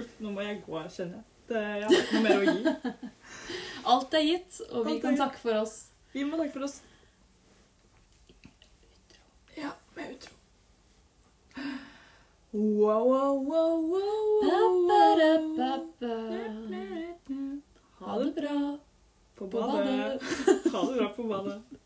Uff, nå må jeg gå, kjenner jeg. Det, jeg har ikke noe mer å gi.
Alt er gitt, og vi
Alt er
kan
gitt.
takke for oss.
Vi må takke for oss. Ja, med utro. Wow, wow, wow,
Ba,
wow,
ba, da, ba,
wow.
ba.
Ha
Ha det
det
bra
på
på
badet.
badet.
Ha det bra på badet.